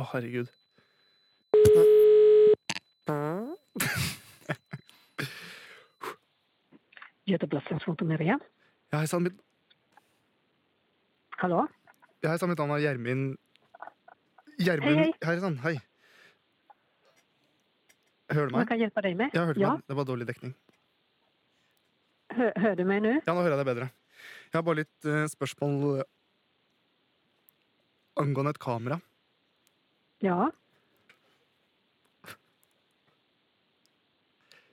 C: Å, herregud. Nei.
A: Göteborgsradion Maria.
C: Ja, hei sann, mitt,
A: Hallå?
C: ja, hei sann, mitt navn er Gjermund Gjermund
A: Hei,
C: Hei sann, sånn. hei. Hører du
A: Vad
C: meg?
A: kan jag hjälpa dig med?
C: Jeg hørte
A: ja,
C: meg. Det var dårlig dekning.
A: hör, hör du mig nu?
C: Ja, nå hører jeg deg bedre. Jeg har bare litt eh, spørsmål eh, angående et kamera.
A: Ja,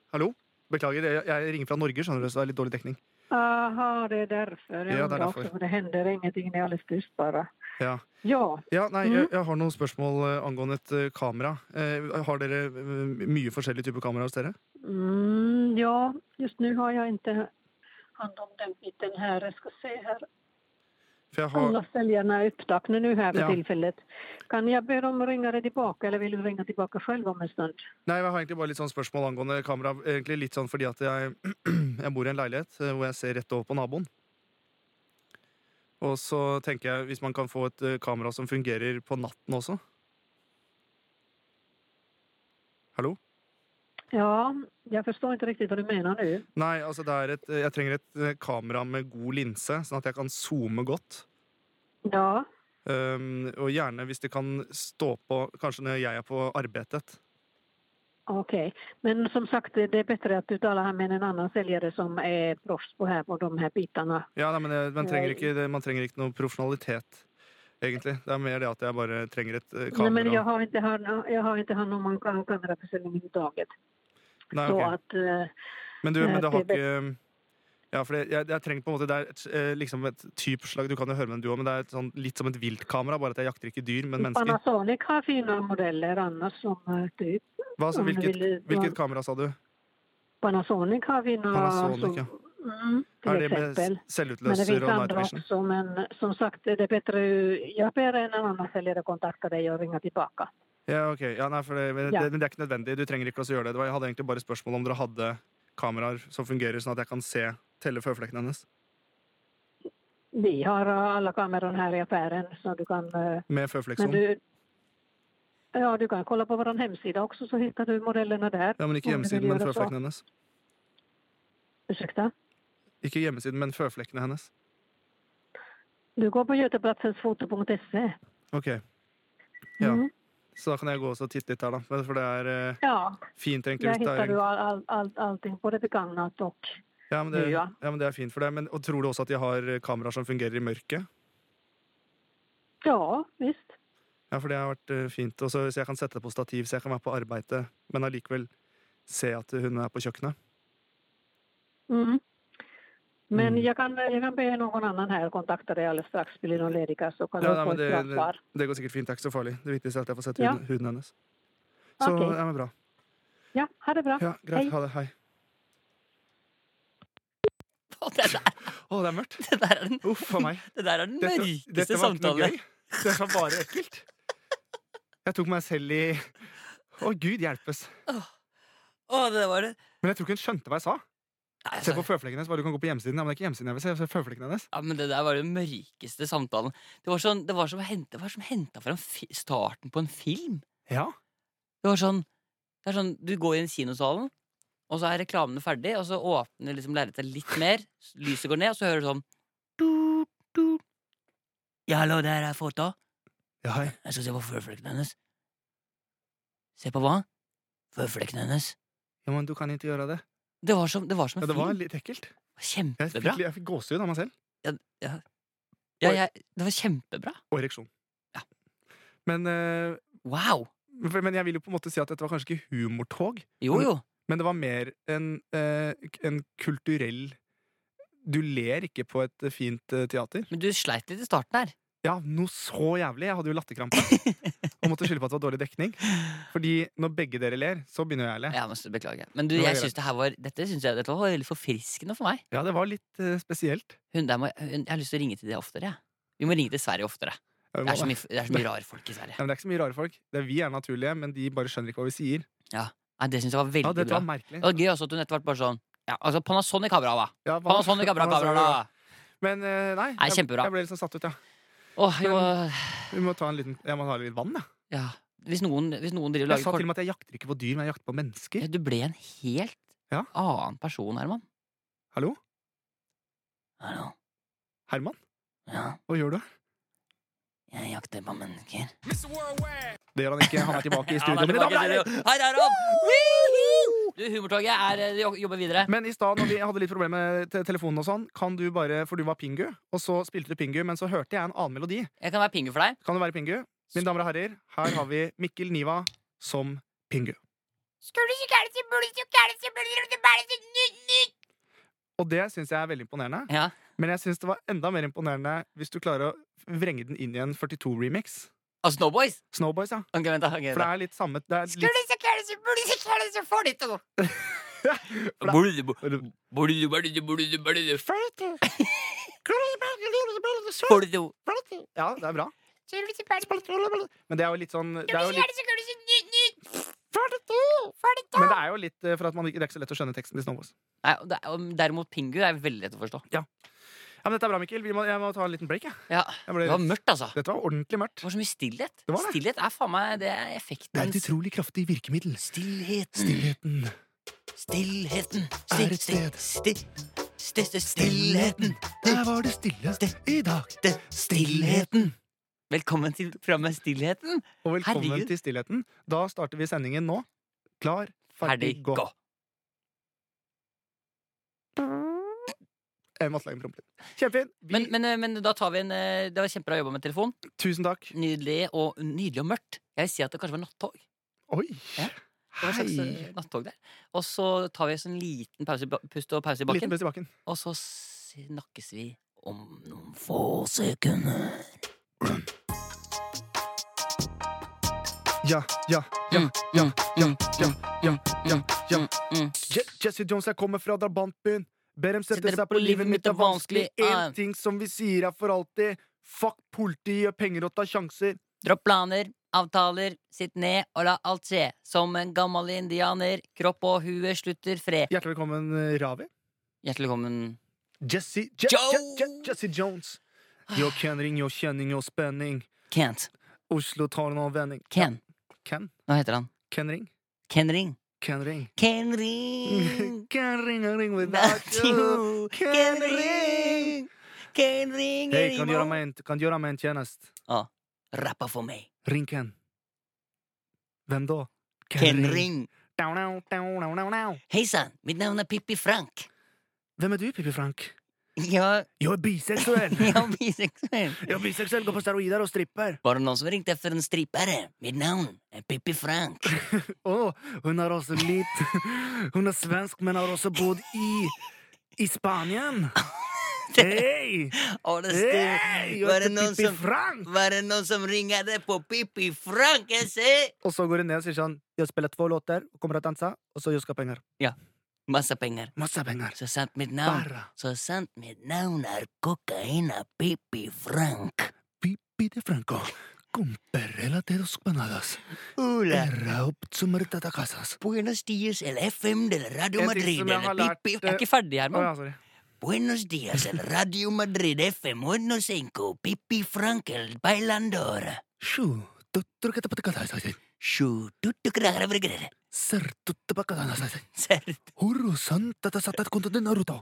C: Hallo? Beklager, jeg, jeg ringer fra Norge, skjønner du, så det er litt dårlig dekning.
A: Aha, det är därför.
C: Ja, det är
A: undrar
C: därför.
A: också, men Det händer ingenting, ni är alldeles tyst bara.
C: Ja.
A: Ja,
C: Ja, nei, jeg, jeg har noen spørsmål eh, angående et eh, kamera. Eh, har dere eh, mye forskjellige typer kamera hos dere?
A: mm, ja, just nu har jag inte hand om den biten här. Jag ska se här.
C: For jeg har
A: Alla säljarna är upptagna nu här för
C: Ja.
A: tillfället. Kan jag be dem ringa dig tillbaka eller vill du ringa tillbaka själv om en stund?
C: Nei, jeg har egentlig bare litt sånn spørsmål angående kamera. Egentlig litt sånn fordi at jeg, jeg bor i en leilighet eh, hvor jeg ser rett over på naboen. Og så tenker jeg, hvis man kan få et eh, kamera som fungerer på natten også Hallo?
A: Ja, jag förstår inte riktigt vad du menar nu.
C: Nei, altså det er et, eh, jeg trenger et eh, kamera med god linse, sånn at jeg kan zoome godt.
A: Ja,
C: Um, og gjerne hvis det kan stå på, kanskje når jeg er på arbeidet.
A: Okej, men som sagt det är bättre att du talar här med en annan säljare som är proffs på, här, på de här bitarna.
C: Ja, nei, men jeg, man, trenger
A: Nei.
C: ikke, det- man trenger ikke noe profesjonalitet, egentlig. Det er mer det at jeg bare trenger et eh,
A: Nej,
C: kamera.
A: men jag har inte hand, jag har inte hand om man kan kameraförsäljning överhuvudtaget.
C: Nei,
A: Så
C: ok.
A: att, eh,
C: Men du,
A: eh,
C: men det har
A: det er
C: ikke ja, for det, jeg, jeg trenger på en måte Det er et, eh, liksom et typeslag Du kan jo høre med den du òg, men det er et sånn, litt som et viltkamera. Bare at jeg jakter ikke dyr, men mennesker.
A: Panasonic har fina modeller annars som eh, typ.
C: Hva, så,
A: om du
C: hvilket,
A: ville-
C: hvilket kamera sa du?
A: Panasonic har fina
C: Panasonic,
A: som,
C: ja.
A: mm, till
C: Er det med
A: exempel.
C: s-
A: Men det
C: selvutløser
A: finns
C: og night
A: andra
C: vision?
A: också, men som sagt det är bättre, jag ber en annan säljare kontakta dig och ringa tillbaka.
C: Ja, ok. Ja, nei, for det, men,
A: Ja.
C: det, men det er ikke nødvendig. Du trenger ikke også gjøre det. det var, jeg hadde egentlig bare spørsmål om dere hadde kameraer som fungerer, sånn at jeg kan se telle føflekkene hennes.
A: Vi har eh, alla kameror här i affären så du kan eh,
C: Med
A: Men
C: føflekksom.
A: du, ja, du kan kolla på vår hemsida också så hittar du modellerna där.
C: Ja, men ikke
A: om du
C: hjemmesiden,
A: vil
C: men
A: gjøre så.
C: føflekkene hennes.
A: Ursäkta?
C: Ikke hjemmesiden, men føflekkene hennes.
A: Du går på göteplatsensfoto.se.
C: Ok. Ja,
A: Mm.
C: Så da kan jeg gå også og titte litt her, da. Men For det er eh,
A: ja,
C: fint, egentlig.
A: där
C: Hvis det
A: hittar
C: er,
A: du all, all, all, allting, både begagnat och...
C: ja, men det, ja,
A: Ja.
C: men det er fint for det. Men og tror du også at de har eh, kameraer som fungerer i mørket?
A: Ja, visst.
C: Ja, for det har vært eh, fint. Og så så jeg kan sette det på stativ, så jeg kan være på arbeidet, men allikevel se at hun er på kjøkkenet.
A: Mm. Men
B: Mm.
A: jag, kan, jag kan be någon annan här kontakta dig alldeles strax. Blir någon lediga så kan
C: Ja,
A: du
C: nei,
A: få
C: men
A: ett
C: det,
A: bra
C: det,
A: svar.
C: det går sikkert fint. Det er ikke så farlig. Det viktigste er at jeg får sett
A: Ja.
C: huden, huden hennes. Så
A: Ok.
C: ja, men bra.
A: Ja, ha det bra.
C: Ja,
A: Hei.
C: greit. Ha det. Hei.
B: Å, Det der,
C: Å, det er mørkt.
B: det der er den,
C: Uff a meg.
B: det der er den
C: Dette,
B: mørkeste
C: dette var ikke noe
B: samtalen.
C: gøy. Det var bare ekkelt. Jeg tok meg selv i Å, gud hjelpes.
B: Å, det var det.
C: Men jeg tror ikke hun skjønte hva jeg sa.
B: Nei,
C: Se
B: altså,
C: på føflekken hennes. Bare du kan gå på hjemmesiden. Ja, men det er ikke hjemmesiden jeg vil se. Se føflekken hennes.
B: ja, men det der var den mørkeste samtalen. Det var, sånn, det var som å hente- det var som henta fra en fi, starten på en film.
C: Ja.
B: Det var sånn, det er sånn Du går inn i kinosalen, og så er reklamene ferdig, og så åpner liksom lerretet litt mer, s- lyset går ned, og så hører du sånn du, du. Ja, hallo, der er Fota.
C: Ja, hei.
B: Jeg skal se på føflekkene hennes. Se på hva? Føflekkene hennes.
C: Ja, men du kan ikke gjøre det.
B: Det var som, det var som en
C: Ja, det var
B: film.
C: litt ekkelt. Jeg
B: Kjempebra.
C: fikk, jeg fikk gåsehud av meg selv.
B: Ja, jeg, det var kjempebra.
C: Og ereksjon.
B: Ja.
C: Men, eh,
B: Wow!
C: for- men jeg vil jo på en måte si at dette var kanskje ikke humortog,
B: Jo,
C: Men-
B: jo.
C: men det var mer en, eh, k- en kulturell Du ler ikke på et eh, fint eh, teater.
B: Men du sleit litt i starten her.
C: Ja, noe så jævlig! Jeg hadde jo latterkrampe. Og måtte skylde på at det var dårlig dekning. Fordi når begge dere ler, så begynner jeg å le.
B: Ja, men så- Beklager. Men du,
C: Det var
B: jeg
C: greit.
B: synes det her var, dette, synes jeg, dette var veldig forfriskende for meg.
C: Ja, det var litt eh, spesielt.
B: Hun der må, hun, jeg har lyst til å ringe til det oftere. jeg. Vi må ringe til Sverige oftere.
C: Ja,
B: Det er
C: vi
B: så
C: må det.
B: mye, det er så mye rare folk i Sverige.
C: Ja, men det er ikke så mye rare folk. Det er Vi er naturlige, men de bare skjønner ikke hva vi sier.
B: Nei, Det synes jeg var
C: Ja,
B: veldig
C: dette
B: bra.
C: var merkelig.
B: Det var gøy også at hun etter hvert bare sånn ja, altså Panasonic har bra, da.
C: Ja, hva-
B: Panasonic har sånn, bra
C: hva sa
B: kamera,
C: du
B: da.
C: da? Men eh, nei,
B: Nei,
C: jeg,
B: kjempebra.
C: jeg ble liksom satt ut, ja.
B: Åh, jo,
C: Vi må ta en liten, jeg må ta litt vann, jeg.
B: ja. Hvis noen, hvis noen driver og lager
C: Jeg sa til og
B: kort
C: med at jeg jakter ikke på dyr, men jeg jakter på
B: ja,
C: mennesker.
B: Du ble en helt
C: Ja.
B: annen person, Herman.
C: Hallo?
B: Hallo.
C: Herman?
B: Ja,
C: Hva gjør du?
B: jeg jakter på mennesker.
C: Det gjør han ikke. Han er tilbake i
B: Ja, han
C: studio.
B: er
C: mine
B: tilbake
C: damer og
B: i
C: herrer.
B: studio. Her er han! Woohoo! Du, Humortoget er, eh, jo- jobber videre.
C: Men i stad, når vi hadde litt problemer med te- telefonen og sånn, kan du bare For du var Pingu, og så spilte du Pingu, men så hørte jeg en annen melodi.
B: Jeg kan være pingu for deg.
C: Kan det være Pingu? Mine damer og herrer, her har vi Mikkel Niva som Pingu. Og det syns jeg er veldig imponerende.
B: Ja.
C: Men jeg syns det var enda mer imponerende hvis du klarer å vrenge den inn i en 42-remix.
B: Av Snowboys?
C: Snowboys, ja.
B: Ok, vent da. ok,
C: For det
B: vent da.
C: er litt samme det er litt, for det,
B: Buldu, bu-
C: Buldu.
B: buldu, buldu, buldu, buldu. Buldu.
C: Ja, det er bra. Men det er jo litt sånn det er jo litt, Men det er jo litt eh, for at man ikke, det er ikke så lett å skjønne teksten til Snowboys.
B: Nei, og det- og Derimot pingu er veldig lett å forstå.
C: Ja, men Dette er bra, Mikkel. Vi må, jeg må ta en liten break. Jeg.
B: Ja,
C: Jeg ble
B: Det var
C: litt-
B: mørkt, altså. Det
C: Dette var ordentlig mørkt.
B: var så mye stillhet.
C: var det.
B: Stillhet er faen meg det er effekten.
C: Det er et utrolig kraftig virkemiddel.
B: Stillheten,
C: Stillheten.
B: stillheten,
C: Er
B: still,
C: et
B: still,
C: sted.
B: still, still, stillheten,
C: Der var det stille i dag.
B: stillheten. Velkommen til programmet Stillheten.
C: Og velkommen
B: Herregud.
C: til Stillheten. Da starter vi sendingen nå. Klar, ferdig,
B: Ferdig,
C: gå.
B: gå.
C: Jeg måtte lage en prompelyd. Kjempefin. Vi,
B: Men, men, eh, men da tar vi en eh, Det var kjempebra jobba med telefon.
C: tusen takk.
B: Nydelig og, nydelig og mørkt. Jeg vil si at det kanskje var nattog.
C: Oi.
B: Ja. Det var en slags
C: Hei.
B: eh, nattog der. Og så tar vi en sånn liten pause, i ba- pust og pause i
C: Liten
B: bakken,
C: pust i bakken.
B: og så snakkes vi om noen få sekunder.
C: Ja, ja, ja, ja, ja, ja, ja, ja, ja.
B: mm.
C: Je- Jesse Jones, jeg kommer fra drabantbyen. Ber dem sette
B: Setter
C: seg på livet mitt er vanskelig.
B: Ah,
C: Én ting som vi sier er for alltid. Fuck politi, gjør penger og ta sjanser.
B: Dropp planer, avtaler, sitt ned og la alt skje. Som en gammel indianer, kropp og hue slutter fred.
C: Hjertelig velkommen, eh, Ravi.
B: Hjertelig velkommen.
C: Jesse, Je
B: Joe!
C: Je Je Jesse Jones. Yo kjenning, yo kjenning, yo spenning.
B: Kent.
C: Oslo tar en avvenning.
B: Ken.
C: Ken?
B: Nå heter han.
C: Kenring?
B: Ken Ring.
C: Kenring.
B: Ken Ring.
C: Ken ring a ring without
B: Without
C: you.
B: you.
C: Ken
B: Mm. Ken
C: Ring.
B: Ring. Ken Ring.
C: Hei, kan du gjøre
B: Rimo.
C: meg en, kan du gjøre meg en tjenest?
B: Rappa for meg.
C: Ring Ken. Hvem da?
B: Ken Ring.
C: Down, down, down, down, down, down.
B: Hei sann, mitt navn er Pippi Frank.
C: Hvem er du, Pippi Frank?
B: Jeg,
C: Jeg er biseksuell.
B: jeg er biseksuell.
C: Jeg er biseksuell, går på steroider og stripper.
B: Var det noen som ringte etter en stripere? Mitt navn er Pippi Frank.
C: Å, hun er også litt Hun er svensk, men har også bodd i I Spanien! Hei!
B: Og det
C: Hei!
B: sto
C: Jeg
B: Var det
C: heter
B: noen
C: Pippi
B: som
C: Frank!
B: Var det noen som ringer deg på Pippi Frank? Jeg ser
C: Og så går hun ned og sier sånn Jeg spiller to låter, kommer og danser, og så jeg skal ha penger.
B: Masse penger.
C: Masse penger.
B: Så sant mitt navn
C: Bare
B: Så sant mitt navn er kokaina Pippi Frank.
C: Pippi de Franco. Comprela de dos panadas.
B: Hola.
C: Erra opp som retatacasas.
B: Buenos dias el FM del Radio
C: En ting
B: Madrid
C: som jeg har
B: eller
C: lært,
B: Pippi
C: eh,
B: Jeg er ikke ferdig,
C: Å
B: Herman.
C: ja, sorry.
B: Buenos dias el Radio Madrid FM 105 Pippi Frank el bailandor.
C: Sju. Tutturukatapatakatasas.
B: Sju tutukragrabrigrer.
C: Sertutupakatasas.
B: Ser
C: Hurru santatasatatkontoten naruto.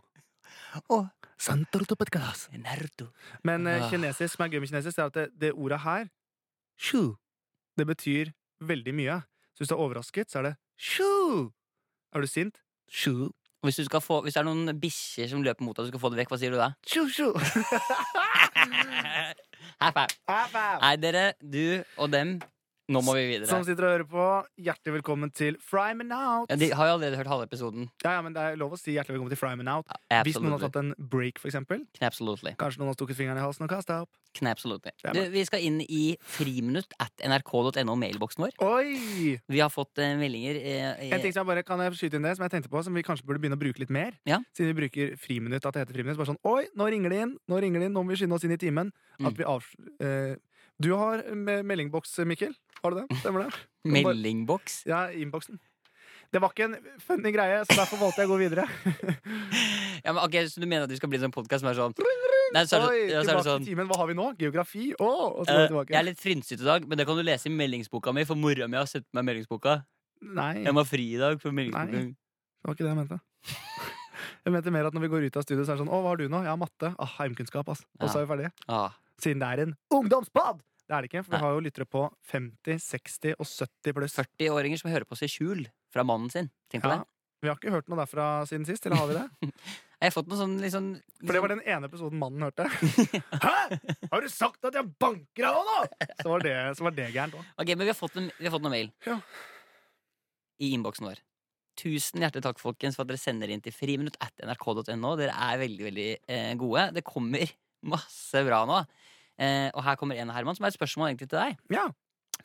B: Å.
C: Santarutupatkadas.
B: Naruto.
C: Men eh,
B: Ah.
C: kinesisk, som er gøy med kinesisk, det er at det, det ordet her, sju, det betyr veldig mye. Så hvis du er overrasket, så er det sju. Er du sint? Sju.
B: Hvis, du skal få, hvis det er noen bikkjer som løper mot deg, og du skal få det vekk, hva sier du da?
C: Sju, sju.
B: High five. Nei, dere, du og dem, nå må vi videre.
C: Som sitter og hører på, hjertelig velkommen til Fry Me Out.
B: Ja, de har jo allerede hørt halve episoden.
C: Ja, ja, men det er lov å si hjertelig velkommen til Fry Me Out. Hvis noen har
B: Absolutely.
C: tatt en break, for eksempel.
B: Knapsolutely.
C: Kanskje noen har stukket fingeren i halsen og kastet opp.
B: Knapsolutely.
C: Det er
B: Du, vi skal inn i friminutt at nrk.no, mailboksen vår.
C: Oi!
B: Vi har fått eh, meldinger eh,
C: En ting
B: eh,
C: som jeg bare kan jeg skyte inn det, som jeg tenkte på, som vi kanskje burde begynne å bruke litt mer.
B: Ja.
C: Siden vi bruker friminutt, at det heter friminutt. Bare sånn Oi, nå ringer det inn! Nå ringer det inn, nå må vi skynde oss inn i timen.
B: Mm.
C: At vi avs... Eh, du har me- meldingboks, Mikkel. Har du det? Stemmer det?
B: meldingboks.
C: Ja, innboksen. Det var ikke en funny greie, så derfor valgte jeg å gå videre.
B: Ja, men, ok, så du mener at vi skal bli en sånn podkast som er sånn Nei, så er det,
C: Oi,
B: ja, så er
C: tilbake
B: det sånn
C: til timen. Hva har vi nå? Geografi? Å! og
B: eh,
C: så går vi tilbake.
B: Jeg er litt frynsete i dag, men det kan du lese i meldingsboka mi, for mora mi har sett meg meldingsboka.
C: Nei,
B: Jeg må ha fri i dag. For
C: Nei.
B: meldingsboka
C: det var ikke det jeg mente. Jeg mente mer at når vi går ut av studio, så er det sånn Å, hva har du nå? Jeg har matte. Ah, heimkunnskap, ass. Og så er vi ferdige.
B: ah,
C: siden det er en ungdomspod! Det er det ikke, for
B: Nei.
C: vi har jo lyttere på 50, 60 og 70 pluss.
B: 40-åringer som hører på oss i skjul fra mannen sin. Tenk på
C: Ja,
B: det.
C: vi har ikke hørt noe derfra siden sist, eller har vi det?
B: Jeg har fått noe sånn litt sånn
C: For det var den ene episoden mannen hørte. Hæ?! Har du sagt at jeg banker deg nå?! Så var det, så var det gærent òg.
B: Ok, men vi har fått en, vi har fått noen mail
C: Ja.
B: I innboksen vår Tusen hjertelig takk folkens for at dere sender inn til friminutt at nrk.no Dere er veldig, veldig eh, gode Det kommer masse bra nå eh, Og her kommer en Herman som er et spørsmål egentlig til deg
C: Ja.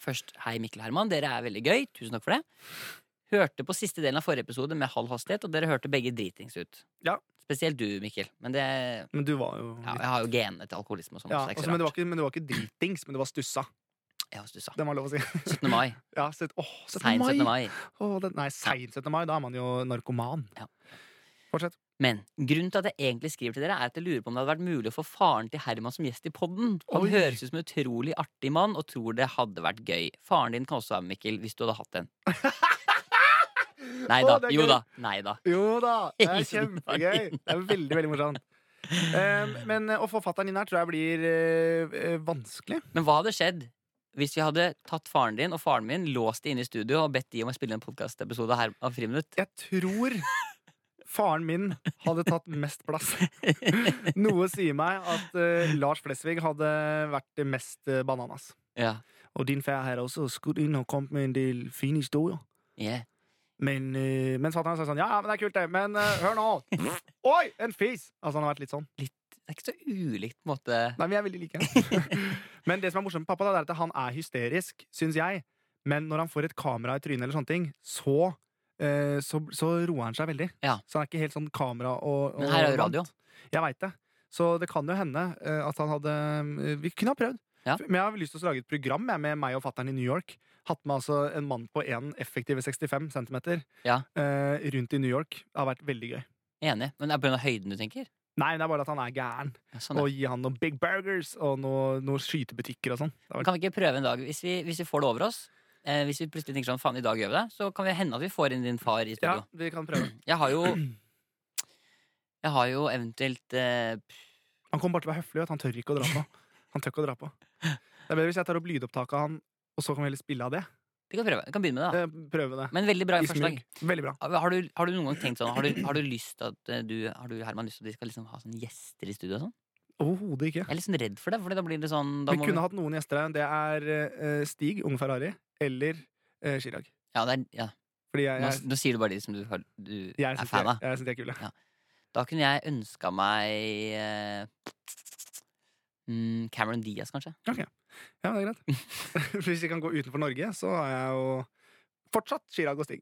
B: Først, hei Mikkel og Herman, dere er veldig gøy Tusen takk for det Hørte på siste delen av forrige episode med halv hastighet Og dere hørte begge dritings ut
C: Ja.
B: Spesielt du Mikkel Men det,
C: Men du var jo
B: ja,
C: litt-
B: jeg har jo genene til alkoholisme og sånn
C: ja,
B: så det er ikke
C: også,
B: så
C: men, det
B: rart.
C: var ikke, men det var ikke dritings, men det var stussa.
B: Ja, hos du sa
C: Det må være lov å si.
B: 17. mai,
C: Ja, så, åh, 17.
B: sein 17.
C: mai!
B: mai
C: Åh, det, nei, sein 17. mai, da er man jo narkoman.
B: Ja.
C: Fortsett.
B: Men grunnen til at jeg egentlig skriver til dere, er at jeg lurer på om det hadde vært mulig å få faren til Herman som gjest i podden. Han
C: Oi.
B: høres ut som en utrolig artig mann og tror det hadde vært gøy. Faren din kan også være med, Mikkel, hvis du hadde hatt en. Nei da.
C: Å, det er
B: Jo
C: gøy.
B: da. Nei da.
C: Jo da, det er
B: Ingen var
C: kjempegøy. Det er veldig, veldig morsomt. Um, men eh, å få fatteren inn her tror jeg blir eh, eh, vanskelig.
B: Men hva hadde skjedd hvis vi hadde tatt faren din og faren min, låst de inne i studio og bedt de om å spille en podkastepisode her av Friminutt?
C: Jeg tror faren min hadde tatt mest plass. Noe sier meg at eh, Lars Flesvig hadde vært mest eh, bananas.
B: Ja.
C: Og din far her også skutt inn og kommet med en del fine historier.
B: Yeah.
C: Men, eh, mens fatter'n sa sånn Ja, ja, men det er kult, det. Men eh, hør nå! Oi, en fis! Altså, han har vært litt sånn.
B: Det er ikke så ulikt, på en måte.
C: Nei, vi er veldig like. men det som er morsomt med pappa, da, det er at han er hysterisk, syns jeg. Men når han får et kamera i trynet, eller sånne ting, så, eh, så, så roer han seg veldig.
B: Ja.
C: Så han er ikke helt sånn kamera og, og
B: Men her er jo radio.
C: vant. Jeg veit det. Så det kan jo hende eh, at han hadde eh, Vi kunne ha prøvd.
B: Ja.
C: Men jeg har lyst til å lage et program jeg, med meg og fattern i New York. Hatt med altså en mann på 1 effektive 65 cm
B: Ja.
C: eh, rundt i New York. Det har vært veldig gøy.
B: Enig. Men det er pga. høyden du tenker?
C: Nei, det er bare at han er gæren.
B: Ja, sånn, ja.
C: Og gi han noen Big Burgers og noen noe skytebutikker og sånn. Det var-
B: Kan vi ikke prøve en dag, hvis vi, hvis vi får det over oss eh, Hvis vi plutselig tenker sånn, faen i dag gjør vi det Så kan vi hende at vi får inn din far i
C: Ja,
B: studio
C: vi kan prøve.
B: Jeg har jo Jeg har jo eventuelt eh,
C: Han kommer bare til å være høflig. Vet. du. Han tør ikke å dra på. Han tør ikke å dra på. Det er bedre hvis jeg tar opp lydopptaket av han, og så kan vi heller spille av det.
B: Vi kan prøve, vi kan begynne med det da
C: Eh, Prøve det.
B: Men veldig bra
C: I
B: forslag
C: smug. Veldig bra.
B: har du, har du noen gang tenkt sånn, har du, har du lyst til at eh, du Har du Herman lyst til at de skal liksom ha sånn gjester i studio og sånn?
C: Overhodet ikke.
B: Jeg er litt sånn redd for det, for da blir det sånn da
C: Vi
B: må
C: kunne hatt noen gjester her. Det er eh, Stig, ung Ferrari, eller eh, Chirag.
B: Ja, det er, ja.
C: Fordi jeg,
B: Nå,
C: jeg,
B: nå sier du bare de som du, har- du
C: jeg
B: er
C: syns de,
B: fan av
C: jeg synes de er kule.
B: Da kunne jeg ønska meg eh, mm, Cameron Diaz, kanskje.
C: Ja, men det er greit. Hvis vi kan gå utenfor Norge, så har jeg jo fortsatt Chirag og Stig.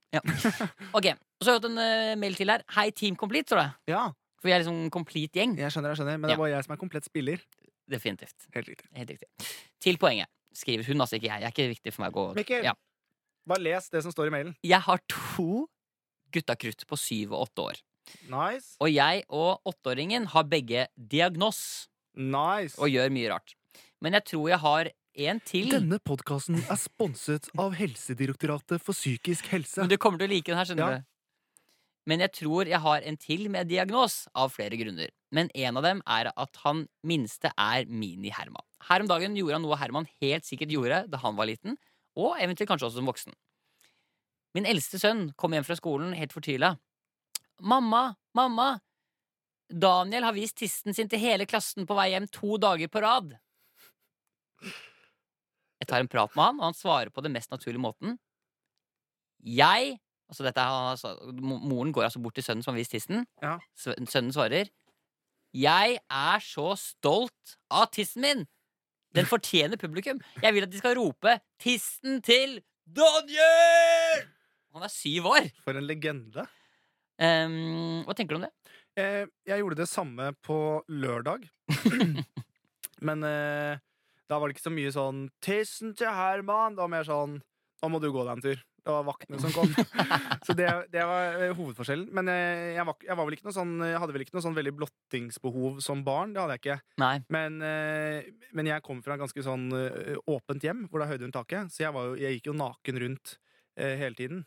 B: Ok, og Så har jeg fått en eh, mail til her. Hei, Team Complete, tror jeg.
C: Ja,
B: For vi er liksom en complete gjeng.
C: jeg skjønner, jeg skjønner, men det er bare jeg som er komplett spiller.
B: Definitivt.
C: Helt riktig.
B: Helt riktig. Til poenget. Skriver hun, altså ikke jeg. Det er ikke viktig for meg å gå
C: Mikkel,
B: Ja.
C: bare les det som står i mailen.
B: Jeg har to gutta krutt på syv og åtte år.
C: Nice.
B: Og jeg og åtteåringen har begge diagnos
C: Nice.
B: og gjør mye rart. Men jeg tror jeg har en til.
C: podkasten er sponset av Helsedirektoratet for psykisk helse.
B: Men du kommer til å like den her, skjønner
C: Ja.
B: du. Men jeg tror jeg har en til med diagnos, av flere grunner. Men en av dem er at han minste er mini-Herman. Her om dagen gjorde han noe Herman helt sikkert gjorde da han var liten, og eventuelt kanskje også som voksen. Min eldste sønn kom hjem fra skolen helt fortvila. Mamma, mamma! Daniel har vist tissen sin til hele klassen på vei hjem to dager på rad. Jeg tar en prat med han, og han svarer på den mest naturlige måten. Jeg altså dette, er han, altså, mo- Moren går altså bort til sønnen som har vist tissen.
C: Ja.
B: Sø- Sønnen svarer Jeg er så stolt av tissen min! Den fortjener publikum. Jeg vil at de skal rope 'Tissen til Daniel!' Han er syv år.
C: For en legende.
B: Ehm, hva tenker du om det?
C: Eh, jeg gjorde det samme på lørdag. Men eh, da var det ikke så mye sånn 'Tissen til Herman'. Det var mer sånn 'Nå må du gå deg en tur'. Det var vaktene som kom. så det, det var eh, hovedforskjellen. Men eh, jeg, var, ikke- jeg, var vel ikke noe sånn, jeg hadde vel ikke noe sånn veldig blottingsbehov som barn. Det hadde jeg ikke.
B: Nei.
C: Men, eh, men jeg kom fra et ganske sånn eh, åpent hjem, hvor det er høyde rundt taket. Så jeg, var jo, jeg gikk jo naken rundt eh, hele tiden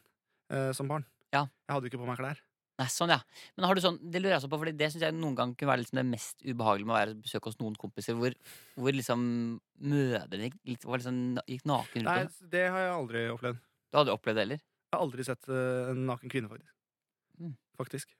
C: eh, som barn.
B: Ja.
C: Jeg hadde jo ikke på meg klær.
B: Nei, sånn ja Men har du sånn, Det lurer jeg også på, Fordi det synes jeg noen gang kunne være liksom det mest ubehagelige med å være besøke hos noen kompiser, hvor, hvor liksom mødrene gikk, litt- var liksom, gikk naken rundt.
C: Nei,
B: og sånn.
C: så det har jeg aldri opplevd.
B: Du hadde opplevd det heller?
C: Jeg har aldri sett eh, en naken kvinne, faktisk.
B: Mm.
C: Faktisk.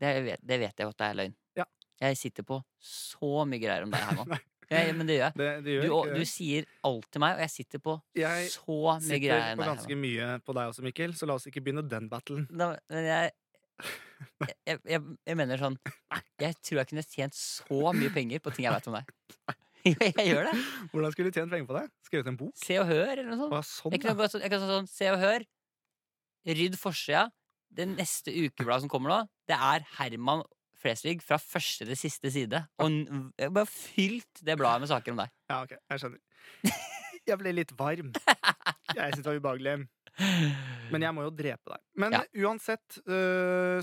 B: Det vet, det vet jeg jo at det er løgn.
C: Ja.
B: Jeg sitter på så mye greier om deg, Herman. jeg, men det gjør jeg.
C: Det, det
B: Du,
C: gjør
B: og,
C: ikke
B: du
C: det.
B: sier alt til meg, og jeg sitter på
C: Jeg
B: så mye
C: Sitter
B: greier om
C: på
B: deg.
C: ganske
B: Herman.
C: mye på deg også, Mikkel, så la oss ikke begynne den battlen.
B: Da, men jeg, jeg, jeg, jeg mener sånn Jeg tror jeg kunne tjent så mye penger på ting jeg vet om deg. Jeg, jeg gjør det.
C: Hvordan skulle du tjent penger på det? Skrevet en bok?
B: Se og Hør eller noe sånt.
C: Hva, sånn,
B: Jeg kan
C: ja.
B: gå sånn, jeg kan sånn, sånn Se og Hør. Rydd forsida. Det neste ukebladet som kommer nå, det er Herman Flesvig fra første til siste side. Og n- jeg har bare fylt det bladet med saker om deg.
C: ja, ok, jeg skjønner. Jeg ble litt varm. Jeg syns det var ubehagelig. Men jeg må jo drepe deg. Men
B: Ja.
C: uansett, øh,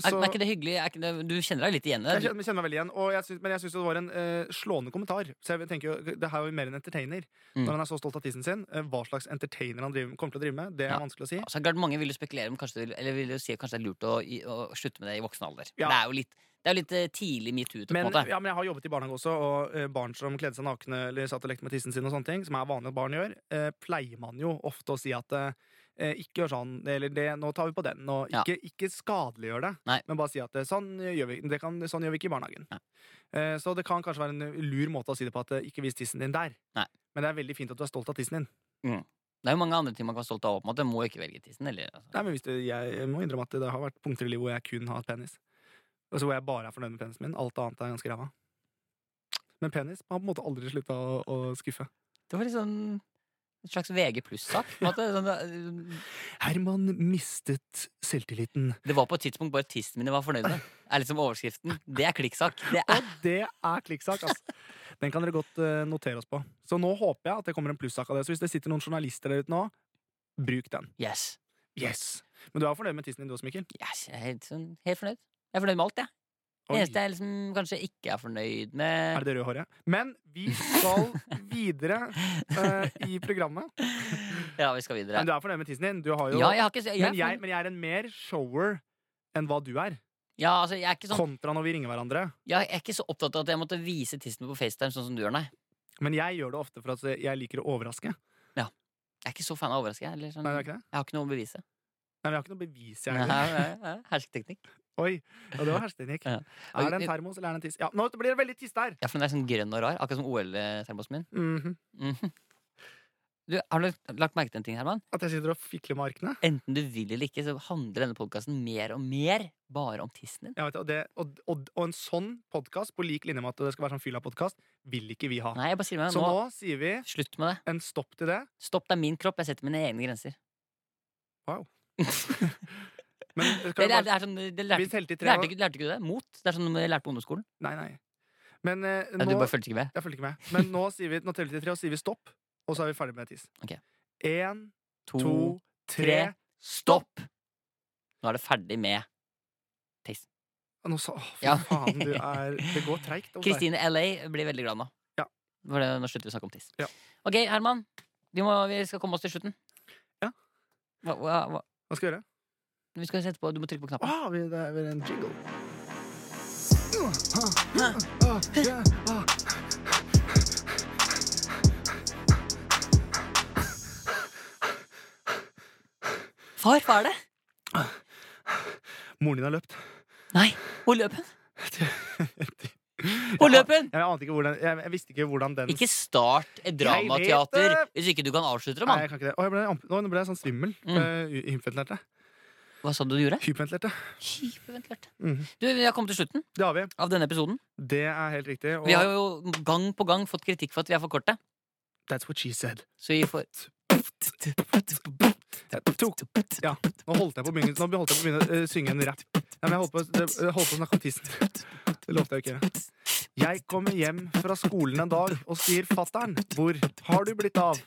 B: Er,
C: så
B: er ikke det hyggelig? Er ikke det, du kjenner deg litt igjen i
C: jeg
B: det?
C: kjenner, kjenner meg veldig igjen, og jeg syns- men jeg syns det var en øh, slående kommentar. Så jeg tenker jo, Det her er jo mer en entertainer.
B: Mm.
C: Når han er så stolt av tissen sin, øh, hva slags entertainer han driver, kommer til å drive med, det er
B: Ja.
C: vanskelig å si.
B: Altså, klart mange vil jo spekulere om kanskje, det vil- eller vil jo si at kanskje det er lurt å, i- å slutte med det i voksen alder.
C: Ja.
B: Det er jo litt, det er jo litt eh, tidlig metoo. på en
C: Men,
B: måte.
C: ja, men jeg har jobbet i barnehage også, og eh, barn som kledde seg nakne eller satt og lekte med tissen sin, og sånne ting, som er vanlig at barn gjør, eh, pleier man jo ofte å si at eh, eh, ikke gjør sånn, eller det, nå tar vi på den, og
B: Ja.
C: ikke, ikke skadeliggjør det,
B: Nei.
C: men bare si at eh, sånn gjør vi, det kan, sånn gjør vi ikke i barnehagen.
B: Nei.
C: Eh, så det kan kanskje være en lur måte å si det på, at eh, ikke vis tissen din der.
B: Nei.
C: Men det er veldig fint at du er stolt av tissen din.
B: Det er jo mange andre ting man kan være stolt av. på en måte. Må jo ikke velge tissen. Eller, altså.
C: Nei, men hvis du, jeg må innrømme at det har vært punkter i livet hvor jeg kun har penis. Og så hvor jeg bare er fornøyd med penisen min. Alt annet er ganske ræva. Men penis har på en måte aldri slutta å, å skuffe.
B: Det var litt sånn en slags VG pluss-sak. på en måte. Sånn, eh,
C: Herman mistet selvtilliten.
B: det var på et tidspunkt bare tissen min jeg var fornøyd med. Er liksom overskriften. Det er klikksak. Det er
C: Og det er klikksak, altså. Den kan dere godt eh, notere oss på. Så nå håper jeg at det kommer en plussak av det. Så hvis det sitter noen journalister der ute nå, bruk den.
B: Yes.
C: Yes! Men du er fornøyd med tissen din du også, Mikkel?
B: yes. Jeg er helt, sånn, helt fornøyd. Jeg er fornøyd med alt, jeg. Det
C: Oi.
B: eneste jeg liksom kanskje ikke er fornøyd
C: Er
B: med
C: det det røde håret? Men vi skal videre eh, i programmet.
B: Ja, vi skal videre.
C: Men du er fornøyd med tissen din? Du har jo
B: Ja, jeg har ikke jeg,
C: Men
B: er
C: jeg,
B: fornøyd.
C: men jeg er en mer shower enn hva du er.
B: ja, altså, jeg, er ikke sånn,
C: Kontra når vi ringer hverandre.
B: jeg er ikke så opptatt av at jeg måtte vise tissen min på FaceTime, sånn som du gjør, nei.
C: Men jeg gjør det ofte for at jeg liker å overraske.
B: Jeg er ikke så fan av overraskelse. Eller sånn,
C: Nei, det er ikke det?
B: jeg har ikke noe å bevise.
C: Nei, men jeg har ikke noe bevis, jeg
B: Nei,
C: heller.
B: nei, nei, Hersketeknikk.
C: Oi, ja, det var hersketeknikk.
B: Ja.
C: Er det en termos, eller er det en tiss? Ja, nå blir det veldig tiss der!
B: Mhm. Ja, for den er sånn grønn og rar, akkurat som OL-termosen min.
C: Mhm.
B: Mhm. du, har du lagt- lagt merke til en ting, Herman?
C: At jeg sitter og fikler med arkene.
B: Enten du vil eller ikke, så handler denne podkasten mer og mer bare om tissen din.
C: Jeg vet, det, og, det, og, og, og en sånn podkast, på lik linje med at det skal være sånn fylla-podkast, vil ikke vi ha.
B: Nei, jeg bare sier meg
C: Så
B: nå,
C: nå sier vi
B: Slutt med det.
C: en stopp til det.
B: Stopp, det er min kropp. Jeg setter mine egne grenser.
C: Wow.
B: det,
C: Men det
B: er,
C: skal
B: det,
C: bare,
B: er sånn, det
C: vi
B: lærte,
C: telte i tre
B: lærte,
C: nå.
B: ikke, lærte ikke du det? Mot? Det er sånn jeg lærte på ungdomsskolen.
C: Nei, nei. Men eh,
B: Nei, du
C: nå
B: bare fulgte ikke med.
C: Jeg følger ikke med. Men nå, sier vi, nå teller vi til tre, og sier vi stopp. Og så er vi ferdig med tiss.
B: Ok.
C: Én,
B: To,
C: to, tre.
B: tre. stopp! Nå er det ferdig med
C: Ja, Nå sa Å, fy
B: Ja.
C: faen, du er Det går treigt. hos deg.
B: Kristine LA blir veldig glad nå.
C: Ja.
B: For det, nå slutter vi å snakke om tiss.
C: Ja.
B: Ok, Herman. Vi, må, vi skal komme oss til slutten.
C: Ja.
B: Hva, hva, hva?
C: Hva skal vi gjøre?
B: Vi skal sette på, du må trykke på
C: Å,
B: knappen.
C: vi, det er vel en jingle.
B: Far, hva er det?
C: Moren din har løpt.
B: Nei, hvor løp hun?
C: Hvor
B: Hvor løp hun?
C: Jeg, ante ikke hvordan, jeg, jeg visste ikke hvordan den
B: Ikke start et
C: Jeg vet
B: dramateater
C: det!
B: hvis ikke du kan avslutte det,
C: Nei,
B: mann.
C: jeg kan ikke det. Å, jeg ble, amp- Oi, nå ble jeg sånn svimmel.
B: Mm.
C: Eh, hy- Hyperventilerte.
B: Hva sa du du gjorde?
C: Hyperventilerte.
B: Hyperventilert.
C: Mhm.
B: Du, Vi har kommet til slutten
C: Det har vi.
B: av denne episoden.
C: Det er helt riktig. Og
B: Vi har jo gang på gang fått kritikk for at vi er for korte.
C: that's what she said.
B: Så vi får
C: Jeg tok Ja, nå holdt jeg på å begynne, nå holdt jeg på å begynne eh, synge en rap. Nei, men jeg holdt på, det- jeg holdt på å snakke om tissen. Det lovte jeg jo ikke. Jeg kommer hjem fra skolen en dag og sier 'fatter'n, hvor har du blitt av?'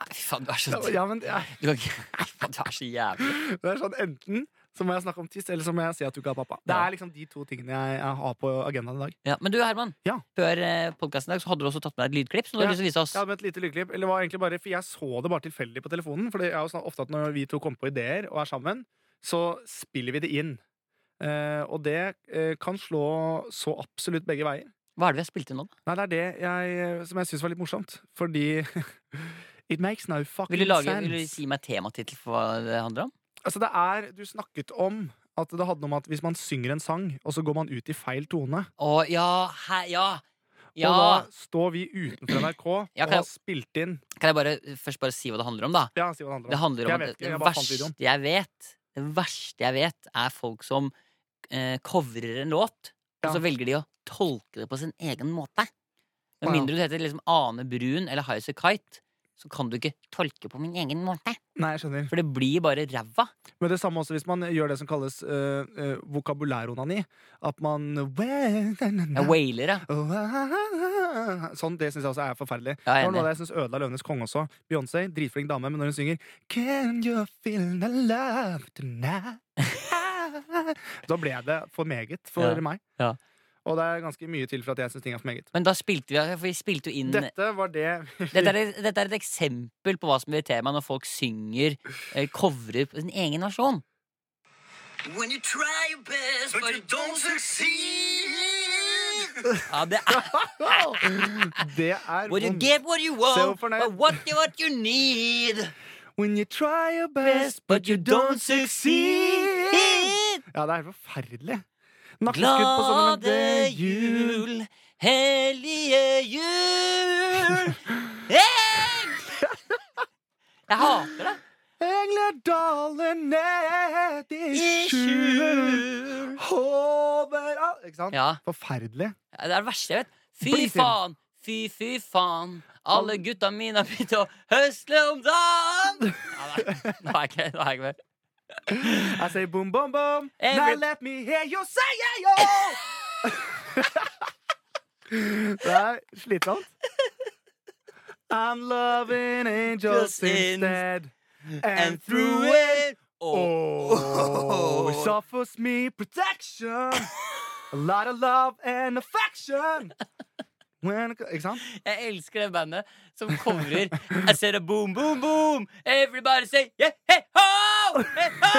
B: Nei, Fy faen, du er så
C: Ja, men- Ja, men jeg-
B: Du kan ikke Nei, faen, du er så jævlig.
C: det er sånn enten så må jeg snakke om tiss, eller så må jeg si at du ikke har pappa. Det er liksom de to tingene jeg, jeg har på agendaen i dag.
B: Ja, men du, Herman.
C: Ja.
B: Før podkasten i dag så hadde du også tatt med deg et lydklipp som du hadde lyst
C: Ja.
B: til å vise oss.
C: Jeg hadde med et lite lydklipp, eller det var egentlig bare, for jeg så det bare tilfeldig på telefonen. For det er jo sånn ofte at når vi to kommer på ideer og er sammen, så spiller vi det inn. Eh, og det eh, kan slå så absolutt begge veier.
B: Hva er det vi har spilt inn nå? da?
C: Nei, det er det jeg, eh, som jeg syns var litt morsomt. Fordi It makes no fucking
B: Vil du, lage,
C: sense.
B: vil du si meg tematittel for hva det handler om?
C: Altså, det er Du snakket om at det hadde noe med at hvis man synger en sang, og så går man ut i feil tone
B: Å ja, hæ, ja. Ja.
C: Og da står vi utenfor NRK
B: Ja, kan
C: og
B: jeg-
C: har spilt inn
B: Kan jeg bare først bare si hva det handler om, da?
C: Ja, si hva det handler
B: Det
C: om.
B: handler om
C: Jeg
B: at
C: vet ikke,
B: det
C: jeg bare fant
B: verste
C: videoen.
B: jeg vet Det verste jeg vet, er folk som eh, covrer en låt, og
C: Ja.
B: så velger de å tolke det på sin egen måte. Med
C: Wow.
B: mindre du heter liksom Ane Brun eller Highasakite Kite, så kan du ikke tolke på min egen måte.
C: Nei, jeg skjønner.
B: For det blir bare ræva.
C: Men det samme også hvis man gjør det som kalles øh, øh, vokabulæronani. At man
B: Jeg wailer, ja.
C: Sånn, Det syns jeg også er forferdelig.
B: Ja, jeg
C: Det
B: er
C: var noe av
B: enig.
C: det jeg synes ødela Løvenes konge også. Beyoncé, dritflink dame, men når hun synger Can you feel the love tonight? Da ble det for meget for
B: Ja,
C: meg.
B: ja.
C: Og det er ganske mye til for at jeg syns ting er for meget.
B: Men da spilte vi for vi spilte jo inn dette,
C: Dette var det
B: er, dette er et eksempel på hva som blir tema når folk synger, eh, covrer på sin egen versjon.
D: When you try your best, but, you don't succeed.
B: Ja, det er
C: Det er
B: When you
C: vondt.
B: get what you
C: Se hvor
B: want,
C: fornøyd-
B: but what you, what you need.
C: When you try your best, but you don't succeed. Ja, det er helt forferdelig. Nakkeskudd på sånne men det
B: Glade
C: er jul.
B: jul, hellige jul. Eng! Jeg hater det.
C: Engler daler ned i
B: I
C: skjul.
B: skjul.
C: Overalt Ikke sant?
B: Ja,
C: Forferdelig.
B: det er det verste jeg vet. Fy
C: Bli sint.
B: faen, fy fy faen. Alle gutta mine har begynt å høsle om dagen. Ja, nei, Nå er jeg ikke nå er jeg ikke med.
C: I say boom, boom, boom.
B: Every-
C: Now let me hear you say yeah, yo! det er slitsomt. I'm loving angels
B: Just in-
C: instead.
B: And through it all.
C: Oh, it offers me protection. A lot of love and affection. When, ikke sant?
B: Jeg elsker det bandet som covrer I said a boom, boom, boom. Everybody say yeah, hey, ho! Hey, ho!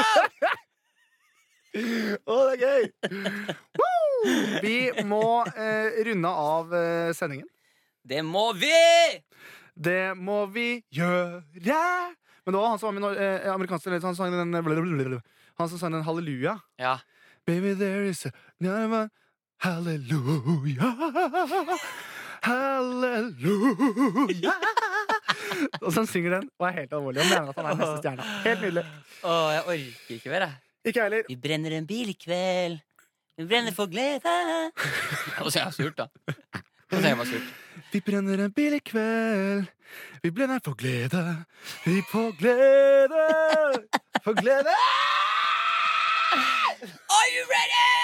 C: Å, det er gøy! Woo! Vi må eh, runde av eh, sendingen.
B: Det må vi!
C: Det må vi gjøre. Men det var han som var med når, eh, amerikanske leder, han sang den blablabla. Han som sang den halleluja.
B: Ja.
C: Baby, there is another Halleluja. Halleluja. Og så han synger den og er helt alvorlig og mener at han er neste stjerne. Helt nydelig.
B: Å, jeg orker ikke mer, jeg.
C: Ikke jeg heller.
B: Vi brenner en bil i kveld. Vi brenner for glede. Nå ser jeg surt, da. Nå ser jeg bare surt.
C: Vi brenner en bil i kveld. Vi brenner for glede. Vi på glede. For glede!
B: Are you ready?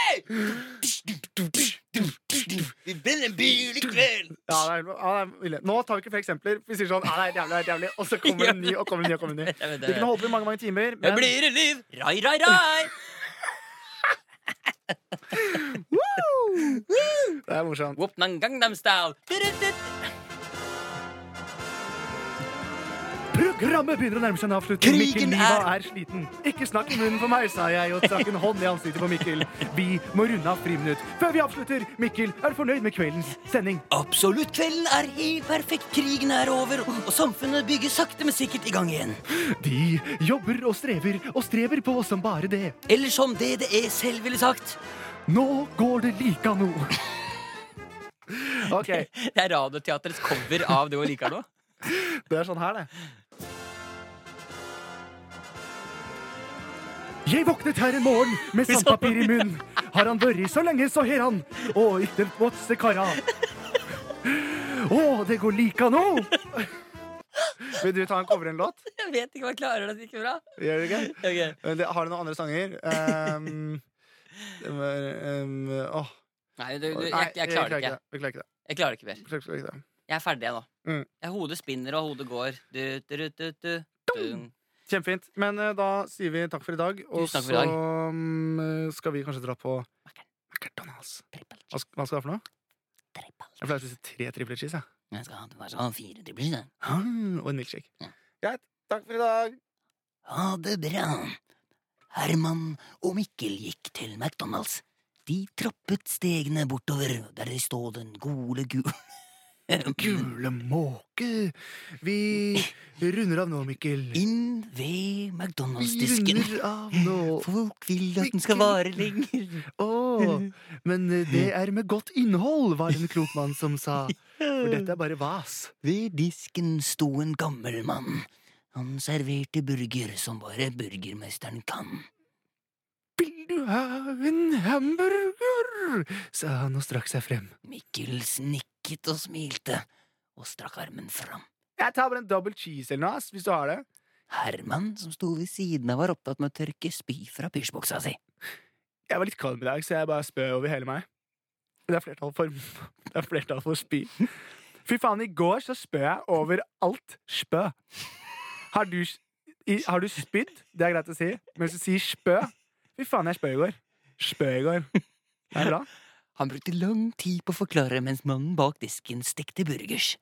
B: Vi brenner en bil i kveld.
C: Ja, det er, ja, det er ille. Nå tar vi ikke flere eksempler. Vi sier sånn ja, det er helt jævlig, det er helt jævlig. Og så kommer det en ny og kommer en ny. og kommer en ny.
B: Jeg vet
C: Det
B: det.
C: kunne holdt på i mange mange timer.
B: Det
C: Men
B: blir et liv. Rai, rai, rai.
C: det er morsomt.
B: Whoop, nan, gangnam style.
C: Programmet begynner å nærme seg en avslutning. Mikkel
B: Krigen
C: Niva
B: er-
C: er sliten. Ikke snakk i munnen på meg, sa jeg og trakk en hånd i ansiktet på Mikkel. Vi må runde av friminutt. Før vi avslutter, Mikkel, er du fornøyd med kveldens sending?
B: Absolutt. Kvelden er helt perfekt. Krigen er over, og samfunnet bygger sakte, men sikkert i gang igjen.
C: De jobber og strever og strever på som bare det.
B: Eller som DDE selv ville sagt.
C: Nå går det lika nå. OK.
B: Det er Radioteaterets cover av det hun liker nå.
C: Det er sånn her, det. Jeg våknet her en morgen med sandpapir i munnen. Har han vært så lenge, så har han. Å, ikke våtse kara. Å, det går lika nå. Vil du ta en cover en låt?
B: Jeg vet ikke om jeg klarer det like bra.
C: Gjør du ikke?
B: Ok.
C: Men det- Har du noen andre sanger? Um, det var, um, åh.
B: Nei, du, du,
C: Nei,
B: jeg, jeg klarer det ikke.
C: Vi klarer ikke det.
B: Jeg klarer det ikke mer.
C: Vi klarer ikke det. Vi klarer ikke det.
B: Jeg er ferdig, jeg nå.
C: Mm.
B: Jeg Hodet spinner, og hodet går. Du, du, du, du, du. Dun.
C: Kjempefint. Men eh, da sier vi takk for i dag. Og
B: Tusen takk for i
C: så
B: dag.
C: mm, skal vi kanskje dra på McDonald's.
B: Triple
C: Hva,
B: cheese,
C: sk- hva skal du ha for noe?
B: triple cheese.
C: Jeg pleier å spise tre triple cheese. jeg.
B: Jeg skal ha det bare sånn fire triple cheese.
C: Ah, og en milkshake.
B: Ja.
C: Greit. Takk for i dag.
B: Ha det bra. Herman og Mikkel gikk til McDonald's. De trappet stegene bortover, der det står den gole gul...
C: Gule måke. Vi runder av nå, Mikkel.
B: Inn ved
C: Vi
B: McDonald's-disken.
C: runder av nå.
B: Folk vil at den
C: Mikkel.
B: skal vare lenger.
C: Åh, men eh, det er med godt innhold, var det en klok mann som sa. For dette er bare vas.
B: Ved disken sto en gammel mann. Han serverte burger som bare burgermesteren kan.
C: Vil du ha en hamburger? sa han og strakk seg frem.
B: Mikkel snikket og smilte, og strakk armen fram.
C: Jeg tar bare en double cheese eller noe, ass, hvis du har det.
B: Herman, som sto ved siden av, var opptatt med å tørke spy fra pysjbuksa si.
C: Jeg var litt kvalm i dag, så jeg bare spø over hele meg. Det er flertall for, det er flertall for spy. Fy faen, i går så spø jeg over alt spø. Har du, s- i, har du spydd? Det er greit å si. Men hvis du sier spø Fy faen, jeg spø i går. Spø i går. Det er bra.
B: Han brukte lang tid på å forklare mens mannen bak disken stekte burgers.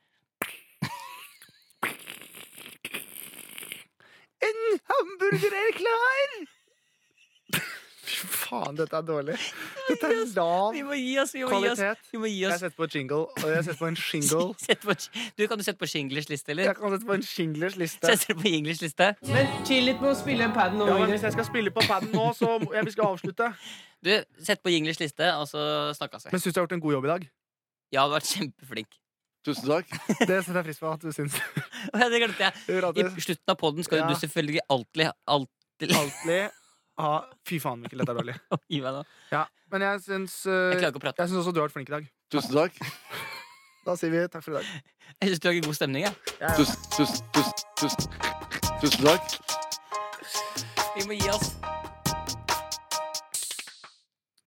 C: En hamburger er klar! Fy faen, dette er dårlig. Dette er lav
B: må gi oss, vi
C: kvalitet.
B: Vi må gi
C: Jeg setter på jingle, og jeg setter på en shingle.
B: Sett på, du, kan du sette på Shinglers liste,
C: Jeg
B: eller?
C: kan sette på en shinglers liste.
B: Setter du på English liste?
E: Men chill litt med å spille paden
C: Ja,
E: over.
C: men hvis jeg skal spille på paden nå, så må- jeg, vi skal avslutte.
B: Du, sett på English liste, og så snakkes vi.
C: Men syns du jeg har gjort en god jobb i dag?
B: Ja, du har vært kjempeflink.
F: Tusen takk.
C: Det setter jeg pris på at du syns.
B: Å, ja, Det glemte jeg. I
C: Rattis,
B: slutten av poden skal jo
C: Ja.
B: du selvfølgelig alltid, alltid
C: Altelig. Ah, fy faen, Mikkel, dette er dårlig.
B: Gi meg nå.
C: Ja, men jeg syns
B: Jeg
C: eh,
B: klarer ikke å prate.
C: Jeg syns også du har vært flink i dag.
F: Tusen takk.
C: Da sier vi takk for i dag.
B: Jeg syns du har ikke god stemning. jeg.
F: Tusen, tusen, tusen, tusen, tusen takk.
B: Vi må gi oss.